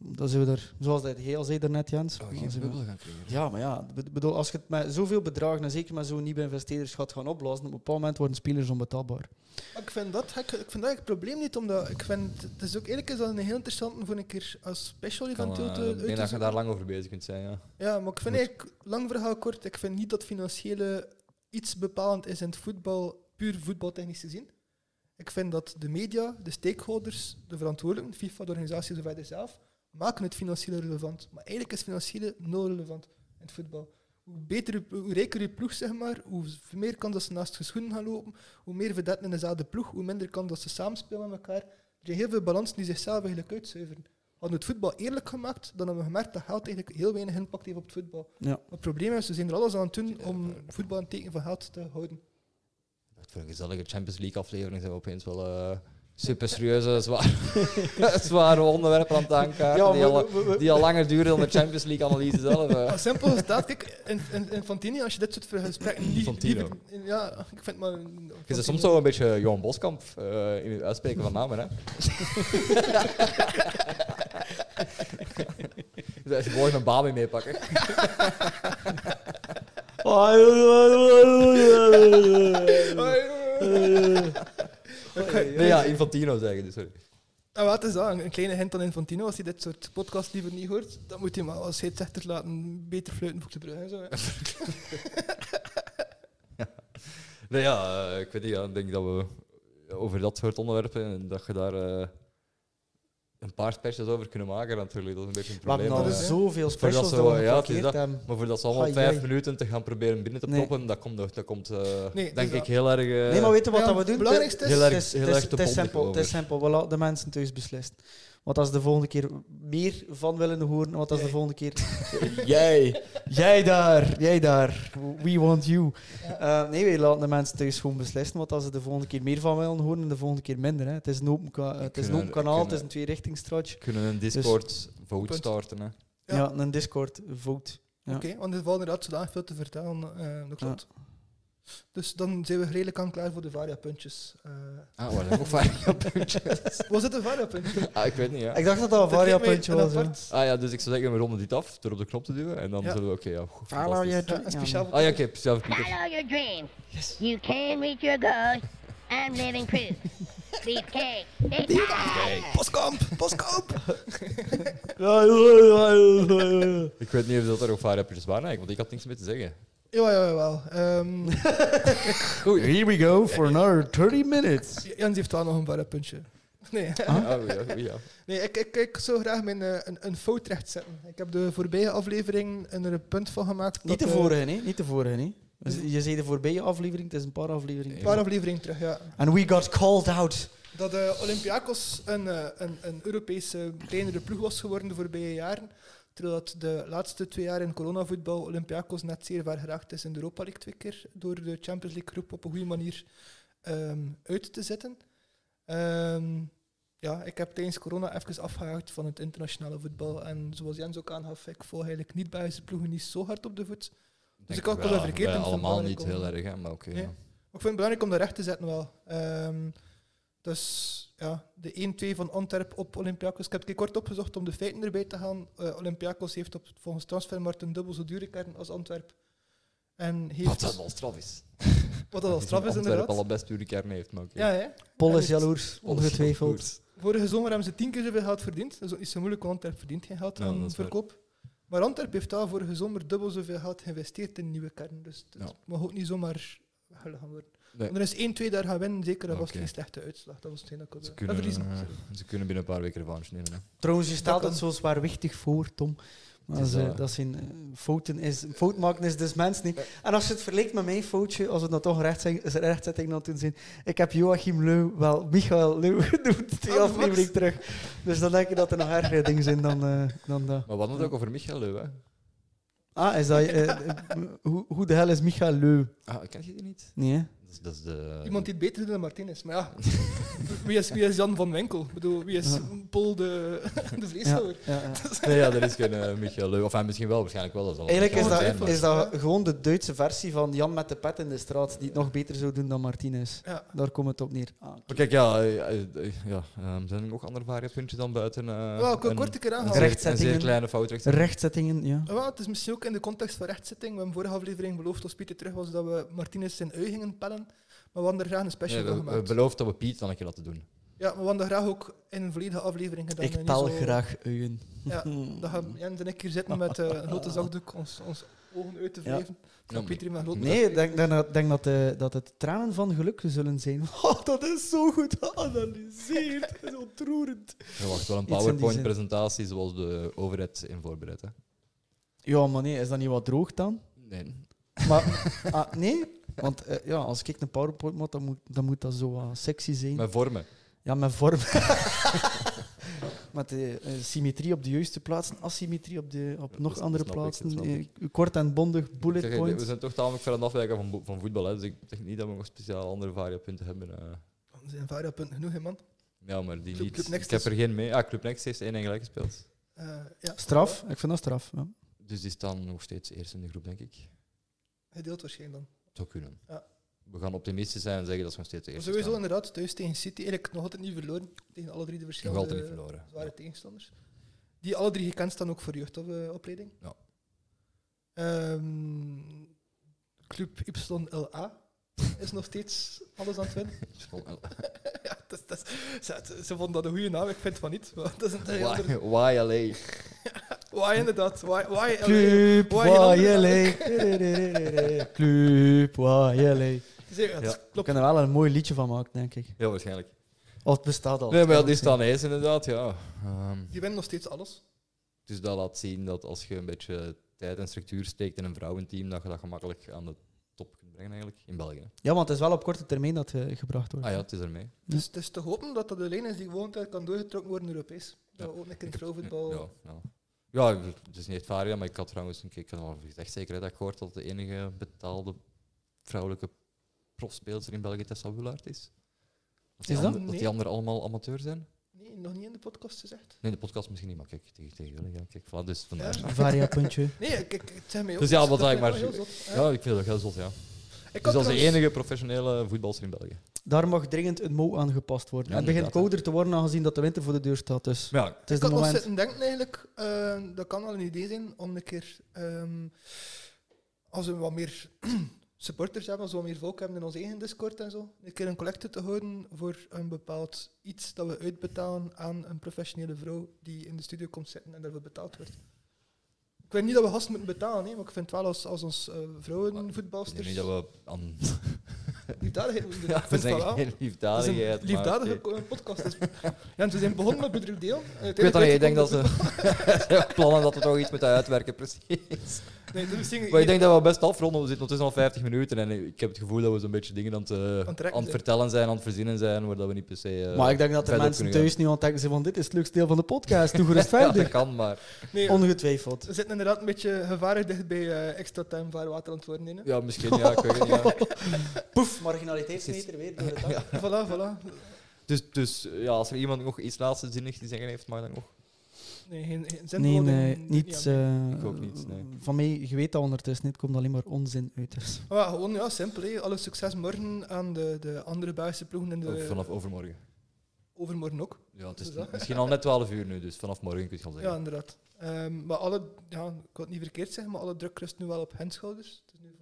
B: Dan zijn we er, zoals dat heel zei daarnet, Jens.
C: Oh,
B: dan zijn we-
A: gaan creëren.
B: Ja, maar ja, ik bedoel, als je het met zoveel bedragen en zeker met zo'n nieuwe investeerders gaat gaan oplossen, op een bepaald moment worden spelers onbetaalbaar.
C: Maar ik vind dat, gek- ik vind dat het probleem niet, omdat ik vind, het is ook eerlijk is dat een heel interessante voor een keer als special
A: Ik eh,
C: eventueel te, uit
A: denk
C: te
A: dat je
C: zoeken.
A: daar lang over bezig kunt zijn. Ja.
C: Ja, maar ik vind
A: Moet.
C: eigenlijk, lang verhaal kort, ik vind niet dat financiële iets bepalend is in het voetbal, puur voetbaltechnisch gezien. Ik vind dat de media, de stakeholders, de verantwoordelijken, FIFA, de organisaties en verder zelf, maken het financiële relevant. Maar eigenlijk is financiële nul relevant in het voetbal. Hoe, beter, je plo- hoe rijker je ploeg, zeg maar, hoe v- meer kans dat ze naast je schoenen gaan lopen, hoe meer verdetten in dezelfde ploeg, hoe minder kans dat ze samenspelen met elkaar. Er zijn heel veel balansen die zichzelf eigenlijk uitzuiveren. Hadden we het voetbal eerlijk gemaakt, dan hebben we gemerkt dat geld eigenlijk heel weinig impact heeft op het voetbal.
B: Ja.
C: Maar Het probleem is, ze zijn er alles aan het doen om voetbal een teken van geld te houden.
A: Dat Voor een gezellige Champions League aflevering zijn we opeens wel eh super serieuze, zwaar, <laughs> zware onderwerpen aan het aankaarten. die, al, die al langer duren dan de Champions League analyse zelf. eh. hè.
C: Als simpel staat, kijk, in, in, in Fantini, als je dit soort gesprekken niet...
A: Infantino.
C: liever- in- ja, ik vind maar... een-
A: Je
C: Fantini-
A: zit soms zo een beetje Johan Boskamp eh, in het uitspreken van <laughs> namen, hè? Dat is mooi een babi meepakken. Nee, ja, Infantino zeggen, dus sorry.
C: Ah, wat is dat? Een een kleine hint aan Infantino, als hij dit soort podcast liever niet hoort, dan moet hij maar als scheidsrechter laten beter fluiten voor de brug en zo. hè.
A: Nee, ja, eh, ik weet niet, ja, ik denk dat we over dat soort onderwerpen en dat je daar eh, een paar specials over kunnen maken natuurlijk. Dat is een beetje een
B: We hebben
A: probleem.
B: al
C: dat
A: maar-
C: is-
B: zoveel
A: Voor dat
B: specials
A: zo,
B: dat we
A: ja, het is
B: geblokkeerd
A: dat.
B: hebben.
A: maar voor dat ze allemaal
B: Ai,
A: vijf
B: ai.
A: minuten te gaan proberen binnen te
B: Nee.
A: proppen, dat komt, nog- dat komt eh,
C: dus
A: denk
C: dat-
A: ik heel erg... eh,
B: Nee, maar weet je wat
C: Ja,
B: dat we doen?
C: het belangrijkste is-
A: Heel erg-
B: Het is-
A: heel
B: het is-
A: erg te
B: het is
A: bondig
B: simpel. Het is
A: over.
B: simpel. We laten de mensen thuis beslissen. Wat als ze de volgende keer meer van willen horen? Wat als de
C: Jij.
B: volgende keer...
A: Jij!
B: <laughs> Jij daar, jij daar. We want you. Eh, nee, wij laten de mensen thuis gewoon beslissen. Wat als ze de volgende keer meer van willen horen en de volende keer minder. Hè. Het is een open, ka- het is een
A: Kunnen-
B: open kanaal, het is
A: kunnen-
B: een tweerichtingsstraatje.
A: Kunnen een Discord vote
C: Punt.
A: starten, hè.
B: Ja.
C: Ja.
B: ja, en een Discord vote. Ja.
C: Oké, want er valt inderdaad zodanig veel te vertellen. eh, dat
B: Ja.
C: klopt. Dus dan zijn we redelijk aan klaar voor de variapuntjes. eh, puntjes
A: Ah, waar zijn ook variapuntjes?
C: was het een <laughs> variapuntje?
A: <laughs> ah, ik weet niet, ja.
B: Ik dacht dat dat een
C: Dat geeft mij
B: variapuntje
C: een
B: was. hè.
C: apart-
A: Ah ja, dus ik zou zeggen, we ronden dit af door op de knop te duwen en dan
C: Ja.
A: zullen we... Oké, ja. goed,
B: Follow
A: fantastisch.
B: your
C: Ja, een
B: dream.
C: <laughs> speciaal
A: Ah ja, oké, zelf Pieter.
D: Follow your dreams. You can reach your goals. I'm living proof. These cakes, they
C: Postkamp! Postkamp!
A: Ik weet niet of dat er ook variapuntjes waren, eigenlijk, want ik had niks meer te zeggen.
C: <laughs> ja, ja, Ehm, wel.
B: Here we go for another 30 minutes.
C: Jens heeft wel nog een variapuntje. <laughs> Nee,
A: Ah, ja, goed, ja.
C: nee ik, ik, ik zou graag mijn, eh, een, een fout rechtzetten. Ik heb de voorbije aflevering er een punt van gemaakt.
B: Niet de
C: dat, eh,
B: vorige, nee. Niet de vorige, nee. Dus Je zei de voorbije aflevering, het is een paar afleveringen.
C: Een paar afleveringen terug, ja.
B: And we got called out.
C: dat de Olympiakos een, eh, een, een Europese kleinere ploeg was geworden de voorbije jaren. Terwijl dat de laatste twee jaar in coronavoetbal Olympiakos net zeer ver geraakt is in de Europa League twee keer. Door de Champions League groep op een goede manier ehm, uit te zetten. Ehm, ja, ik heb tijdens corona even afgehaakt van het internationale voetbal. En zoals Jens ook aangaf, ik volg eigenlijk niet Belgische ploegen niet zo hard op de voet. Dus
A: Denk
C: ik had wel
A: wel,
C: een verkeerd
A: wij
C: punt van
A: allemaal niet
C: belangrijk om-
A: heel erg, hè, maar oké.
C: Nee.
A: ja.
C: Maar Ik vind het belangrijk om dat recht te zetten wel. Ehm, dus ja, de 1-2 van Antwerp op Olympiakos. Ik heb het kort opgezocht om de feiten erbij te gaan. Eh, Olympiakos heeft op, volgens Transfermarkt een dubbel zo dure kern als Antwerp. En heeft,
A: Wat dat wel straf is.
C: wat dat al straf is
A: Antwerpen al
C: inderdaad.
A: het best uw kern heeft, maar oké.
C: Ja, hè?
B: Paul
C: En
B: is
C: heeft-
B: jaloers, ongetwijfeld.
C: Vorige zomer hebben ze tien keer zoveel geld verdiend. Dat is ook niet zo moeilijk, want Antwerp verdient geen geld
A: Ja, dat
C: aan
A: is waar.
C: verkoop. Maar Antwerp heeft daar vorige zomer dubbel zoveel geld geïnvesteerd in nieuwe kern. Dus het
A: Ja.
C: mag ook niet zomaar weggelegd gaan worden.
A: Nee.
C: En er is 1-2 daar gaan winnen, zeker. Dat was
A: Oké.
C: geen slechte uitslag. Dat was geen dat kon-
A: Ze
C: dat
A: kunnen,
C: verliezen.
A: eh, ze kunnen binnen een paar weken revanche nemen. Hè.
B: Trouwens, je stelt
C: kan.
B: het zo zwaarwichtig voor, Tom. Maar
A: Het is,
B: ze-
A: eh,
B: dat zijn eh, fouten is, fout maken is dus mens niet. En als je het vergelijkt met mijn foutje, als we dat toch recht zijn- rechtzetting dan toen zien, ik heb Joachim Leu, wel Michael Leu <laughs> genoemd, twee
C: Oh, Max.
B: afleveringen terug. Dus dan denk ik dat er nog ergere dingen zijn dan, eh, dan dat.
A: Maar wat het ook over Michael Leu, hè?
B: Ah, is dat, eh, eh, hoe, hoe de hel is Michael Leu?
A: Ah, ken je die niet?
B: Nee, hè?
A: Dat is, dat is de...
C: Iemand die het beter doet dan Martinez.
A: <laughs>
C: Maar ja, wie is, wie is Jan van Wenkel? Ik bedoel, wie is Paul de, <laughs> de
B: Ja,
C: Vreeshouwer?
B: ja, ja.
A: Nee, <laughs> ja, er is geen eh, Michael Leu. Of hij misschien wel, waarschijnlijk wel. Dat zal
B: Eigenlijk is
A: wel zijn,
B: dat,
A: maar-
B: is dat gewoon de Duitse versie van Jan met de pet in de straat, die het nog beter zou doen dan Martinez.
C: Ja.
B: Daar komt het op neer. Ah,
A: Maar kijk, ja, eh, eh, eh, ja ehm, zijn er nog andere variapuntjes dan buiten? eh,
C: Wel, ik wil
A: een-
C: kort een keer
A: een
C: aanhalen.
A: zeer, een
B: Rechtzettingen.
A: zeer kleine fout rechts.
B: Rechtzettingen, ja.
C: Wel, het is misschien ook in de context van rechtszitting. We hebben vorige aflevering beloofd als Pieter terug was dat we Martinez zijn ui gingen pellen. Maar we hadden er graag een special
A: Nee,
C: van
A: we, we
C: gemaakt.
A: beloofden dat we Piet dan een keer laten doen.
C: Ja, maar we hadden graag ook in een volledige aflevering gedaan. en
B: Ik
C: niet
B: pel
C: zo-
B: graag uien.
C: Ja, dat gaan Jens en ik hier zitten met eh, een grote zakdoek ons, ons ogen uit te
B: Ja.
C: wrijven.
A: maar-
C: Van Pieter hier met grote
B: Nee, ik denk, denk, dat- denk dat, eh, dat het tranen van geluk zullen zijn. <laughs> Oh, dat is zo goed geanalyseerd. Dat is ontroerend.
A: Er wacht wel een
B: Iets in die zin.
A: PowerPoint-presentatie zoals de overheid in voorbereidt. Hè?
B: Ja, maar nee, is dat niet wat droog dan?
A: Nee.
B: Maar, <laughs> ah, nee, want eh, ja, als ik een PowerPoint maak, dan moet, dan moet dat zo wat sexy zijn.
A: Met vormen.
B: Ja, met vorm. <laughs> Met de eh, symmetrie op de juiste plaatsen, asymmetrie op, de, op
A: Ja,
B: nog
A: dat
B: andere
A: snap ik, dat
B: plaatsen.
A: snap
B: eh,
A: ik.
B: kort en bondig, bullet
A: Ik zeg, we
B: points.
A: zijn toch tamelijk ver aan het afwijken van, bo- van voetbal. Hè? Dus ik zeg niet dat we nog speciaal andere variapunten hebben. eh.
C: Er zijn variapunten genoeg, hè, man.
A: Ja, maar die
C: Club-
A: niet.
C: Club Next
A: ik heb
C: is-
A: er geen mee. Ah, Club Next heeft 1 en gelijk gespeeld.
C: Eh, ja.
B: Straf, ik vind dat straf. Ja.
A: Dus die staan nog steeds eerst in de groep, denk ik.
C: Gedeeld waarschijnlijk dan.
A: Zou kunnen.
C: Ja.
A: We gaan optimistisch zijn en zeggen dat ze nog steeds de eerste
C: Sowieso
A: staan.
C: inderdaad, thuis tegen City eigenlijk nog altijd niet verloren. Tegen alle drie de
A: Nog
C: verschillende
A: altijd niet verloren.
C: zware tegenstanders. Die alle drie gekend staan ook voor jeugdopleiding.
A: Ja.
C: Ehm, Club YLA is nog steeds alles aan het winnen. ja, <laughs> dat, is- dat, is- ze, ze vonden dat een goede naam, ik vind van niet. Maar dat is een heel andere-
A: Why, why LA?
C: Why inderdaad? Why, <laughs> why LA?
B: Club
C: Why een
B: <laughs>
C: andere
B: Wajele. Club Wajele.
C: Zeker, het
A: Ja.
C: is-
B: We
C: klopt.
B: kunnen er wel een mooi liedje van maken, denk ik.
A: Heel waarschijnlijk.
B: Of het bestaat al.
A: Nee, maar ja,
B: Het
A: die
B: kan
A: staan ijs inderdaad, ja. Ehm,
C: Die winnen nog steeds alles.
A: dus dat laat zien dat als je een beetje tijd en structuur steekt in een vrouwenteam, dat je dat gemakkelijk aan de top kunt brengen eigenlijk. In België. hè.
B: zijn. Ja, want het is wel op korte termijn dat eh, gebracht wordt.
A: Ah ja, het is ermee.
C: Dus het is te hopen dat dat de lijn is die gewoon ter- kan doorgetrokken worden Europees. Dat
A: Ja.
C: we ook een keer
A: Ik
C: in
A: heb-
C: het vrouwenvoetbal-
A: Ja, ja. ja, het is niet echt waar, ja, maar ik had trouwens een keer, ik had al gezegd zeker hè, dat ik gehoord dat de enige betaalde vrouwelijke profspeelster in België Tessa Willaert is. Dat die
B: Is dat?
A: ander- dat
C: Nee.
A: die anderen allemaal amateur zijn?
C: Nee, nog niet in de podcast gezegd.
A: Nee, de podcast misschien niet, maar kijk, tegen, tegen jullie. Ja, kijk, voilà, dus vandaar.
C: Ja.
B: Varia puntje.
C: Nee, kijk, het zijn mij ook.
A: Dus ja, wat
C: dat
A: eigenlijk
C: vind ik
A: maar-
C: wel heel zot, hè.
A: Ja, ik vind dat heel zot, ja.
C: Ik
A: Dus dat is
C: had
A: de
C: trouwens-
A: enige professionele voetbalster in België.
B: <laughs> Daar mag dringend een mouw aan gepast worden.
A: Ja,
B: het begint
A: inderdaad, hè.
B: kouder te worden aangezien dat de winter voor de deur staat. Dus
A: Maar ja,
B: het is
C: Ik
B: de
C: had nog
B: moment.
C: zitten denken eigenlijk, eh, dat kan wel een idee zijn om een keer, ehm, als we wat meer <clears throat> supporters hebben, als we wat meer volk hebben in onze eigen Discord en zo, een keer een collecte te houden voor een bepaald iets dat we uitbetalen aan een professionele vrouw die in de studio komt zitten en daarvoor betaald wordt. Ik weet niet dat we gasten moeten betalen, hè, maar ik vind wel als, als ons eh,
A: ik denk
C: vrouwenvoetbalsters...
A: niet dat we <laughs> aan... <laughs>
C: liefdadigheid moeten doen. Ik
A: we
C: vind het
A: zijn
C: wel.
A: geen
C: Het is een
A: liefdadigheid, maar
C: liefdadige
A: oké.
C: co- podcast. Dus- <laughs> Ja, en ze zijn begonnen met bedroefd deel.
A: Ik weet dat niet, ik denk dat ze... ze <laughs> hebben plannen dat we toch iets moeten uitwerken, precies.
C: Nee, dus dat is
A: Maar ik denk dat we best afronden. We zitten ondertussen al 50 minuten en ik heb het gevoel dat we zo'n beetje dingen aan het, eh,
C: het rekken
A: aan het
C: zijn.
A: vertellen zijn, aan het verzinnen zijn, waar dat we niet per se... eh,
B: maar ik denk dat er
A: verder op
B: mensen
A: kunnen
B: thuis nu aan het denken zijn van dit is het leukste deel van de
A: <laughs>
B: podcast. Doe gerust
A: gaan. <laughs> Ja,
B: verder.
A: dat kan, maar...
C: Nee,
B: Ongetwijfeld.
C: Ze zitten inderdaad een beetje gevaarlijk dicht bij eh, extra time voor water aan het worden. hè.
A: Ja, misschien, ja, ik weet het niet. ja.
B: Poef, marginaliteitsmeter weer door het dak.
C: Voilà, voilà.
A: Dus, dus eh, ja, als er iemand nog iets laatste zinnig te zeggen heeft, mag dan nog.
C: Nee, geen, geen
B: Nee,
C: zinwoorden,
B: nee,
C: niet
B: niets.
C: aan-
B: eh,
A: Ik ook niets, nee.
B: Van mij, je weet dat ondertussen niet, komt alleen maar onzin uit. Dus.
A: eh.
C: Maar gewoon, ja, simpel. hè. Alle succes morgen aan de, de andere Belgische ploegen in de...
A: Ook vanaf overmorgen.
C: Overmorgen ook.
A: Ja, het
C: Is
A: is
C: dat?
A: misschien al net 12 uur nu, dus vanaf morgen kun je het al
C: Ja,
A: zeggen.
C: inderdaad. Ehm, maar alle... Ja, ik wil het niet verkeerd zeggen, maar alle druk rust nu wel op hen schouders. Het is nu
A: <laughs>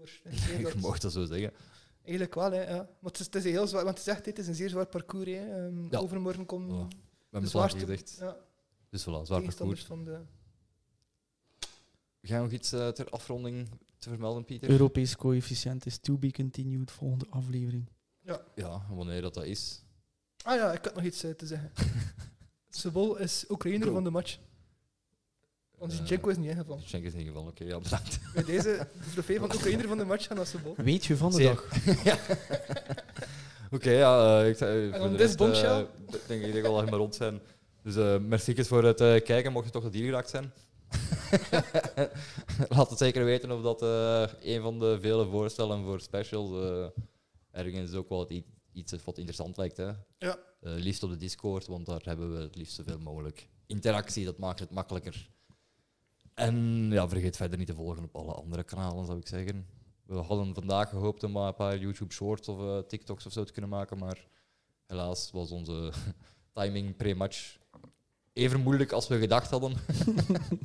C: voor...
A: ik mocht dat zo zeggen.
C: Eigenlijk wel, hè. Ja. Maar het is, het is een heel zwaar... Want het is echt, dit is een zeer zwaar parcours, hè. Ehm,
A: Ja.
C: Overmorgen komt...
A: Ja. We
C: De
A: hebben het al
C: zwaarste
A: gezegd.
C: Ja,
A: Dus voilà, zwaar
C: tegenstanders
A: parcours.
C: van de...
A: Ga je nog iets eh, ter afronding te vermelden, Pieter?
B: Europees coëfficiënt is to be continued, volgende aflevering.
A: Ja, wanneer dat dat is.
C: Ah ja, ik had nog iets eh, te
A: <laughs>
C: zeggen. Sebol is Oekraïner
A: Cool.
C: van de match. Want
A: Eh,
C: Zinchenko is niet ingevallen.
A: Schenk is in ieder geval, oké, ja, bedankt.
C: Bij deze <laughs> de trofee van Oekraïner van de match gaan naar Sebol.
B: Weet je van de
A: Zeer.
B: dag?
A: Ja. Oké, ja, eh, ik zou- voor
C: dan
A: de
C: dit
A: rest, eh,
C: bombshell.
A: d- denk ik denk wel dat we maar rond zijn. Dus eh merci eens voor het eh, kijken, mocht je toch dat hier geraakt
C: <laughs>
A: zijn. Laat het zeker weten of dat eh, een van de vele voorstellen voor specials eh, ergens ook wel i- iets is wat interessant lijkt. Hè?
C: Ja.
A: Eh, liefst op de Discord, want daar hebben we het liefst zoveel mogelijk interactie. Dat maakt het makkelijker. En ja, vergeet verder niet te volgen op alle andere kanalen, zou ik zeggen. We hadden vandaag gehoopt om maar een paar YouTube Shorts of eh, TikToks of zo te kunnen maken, maar helaas was onze <laughs> timing pre-match even moeilijk als we gedacht hadden.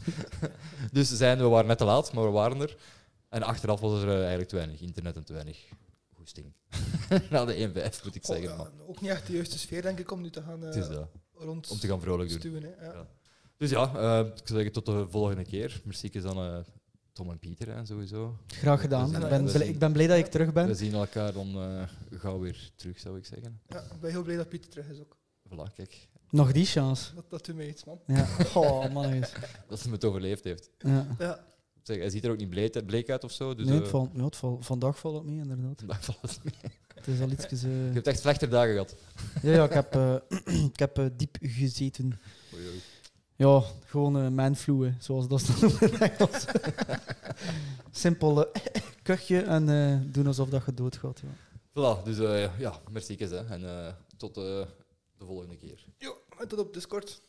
A: <laughs> dus zijn, we waren net te laat, maar we waren er. En achteraf was er eh, eigenlijk te weinig internet en te weinig goesting. <laughs> Na de 1-5 moet ik
C: Goh,
A: zeggen.
C: Oh, ja,
A: maar
C: ook niet echt de juiste sfeer, denk ik, om nu te gaan
A: het
C: eh
A: is dat.
C: rond
A: Om te gaan vrolijk doen.
C: stuwen. Hè. Ja.
A: Ja. Dus ja, eh, ik zou zeggen tot de volgende keer. Merci eens aan eh, Tom en Pieter hè, sowieso.
B: Graag gedaan.
A: We
B: Ik
A: zien-
B: ben,
A: we
B: blij,
A: zien-
B: ik ben blij dat ik terug
A: We
B: ben.
A: zien elkaar dan eh, gauw weer terug, zou ik zeggen.
C: Ja, ik ben heel blij dat Pieter terug is ook.
A: Voilà, kijk.
B: Nog die chance.
C: Dat, dat doet mij iets, man.
B: Ja. <laughs> Oh, man. jongens.
A: Dat hij het overleefd heeft.
B: Ja.
C: Ja,
A: Ik Zeg, hij ziet er ook niet bleek, bleek uit of zo. Dus,
B: nee,
A: eh,
B: het
A: <laughs>
B: valt, ja, het valt- vandaag valt het mee, inderdaad.
A: vandaag valt het mee.
B: Het is al iets. eh
A: <laughs> Je hebt echt slechter dagen gehad.
B: ja, ja, ik heb, eh, <clears throat> ik heb eh, diep gezeten.
A: Oei, oei.
B: Ja, gewoon eh manflu, hè, zoals dat ze noemen in Engels. Simpel eh, kuchje en eh, doen alsof dat je doodgaat. Ja.
A: Voilà, dus eh, ja, merci. eens, Hè. En eh, tot eh, de volgende keer.
C: jo, en tot op Discord.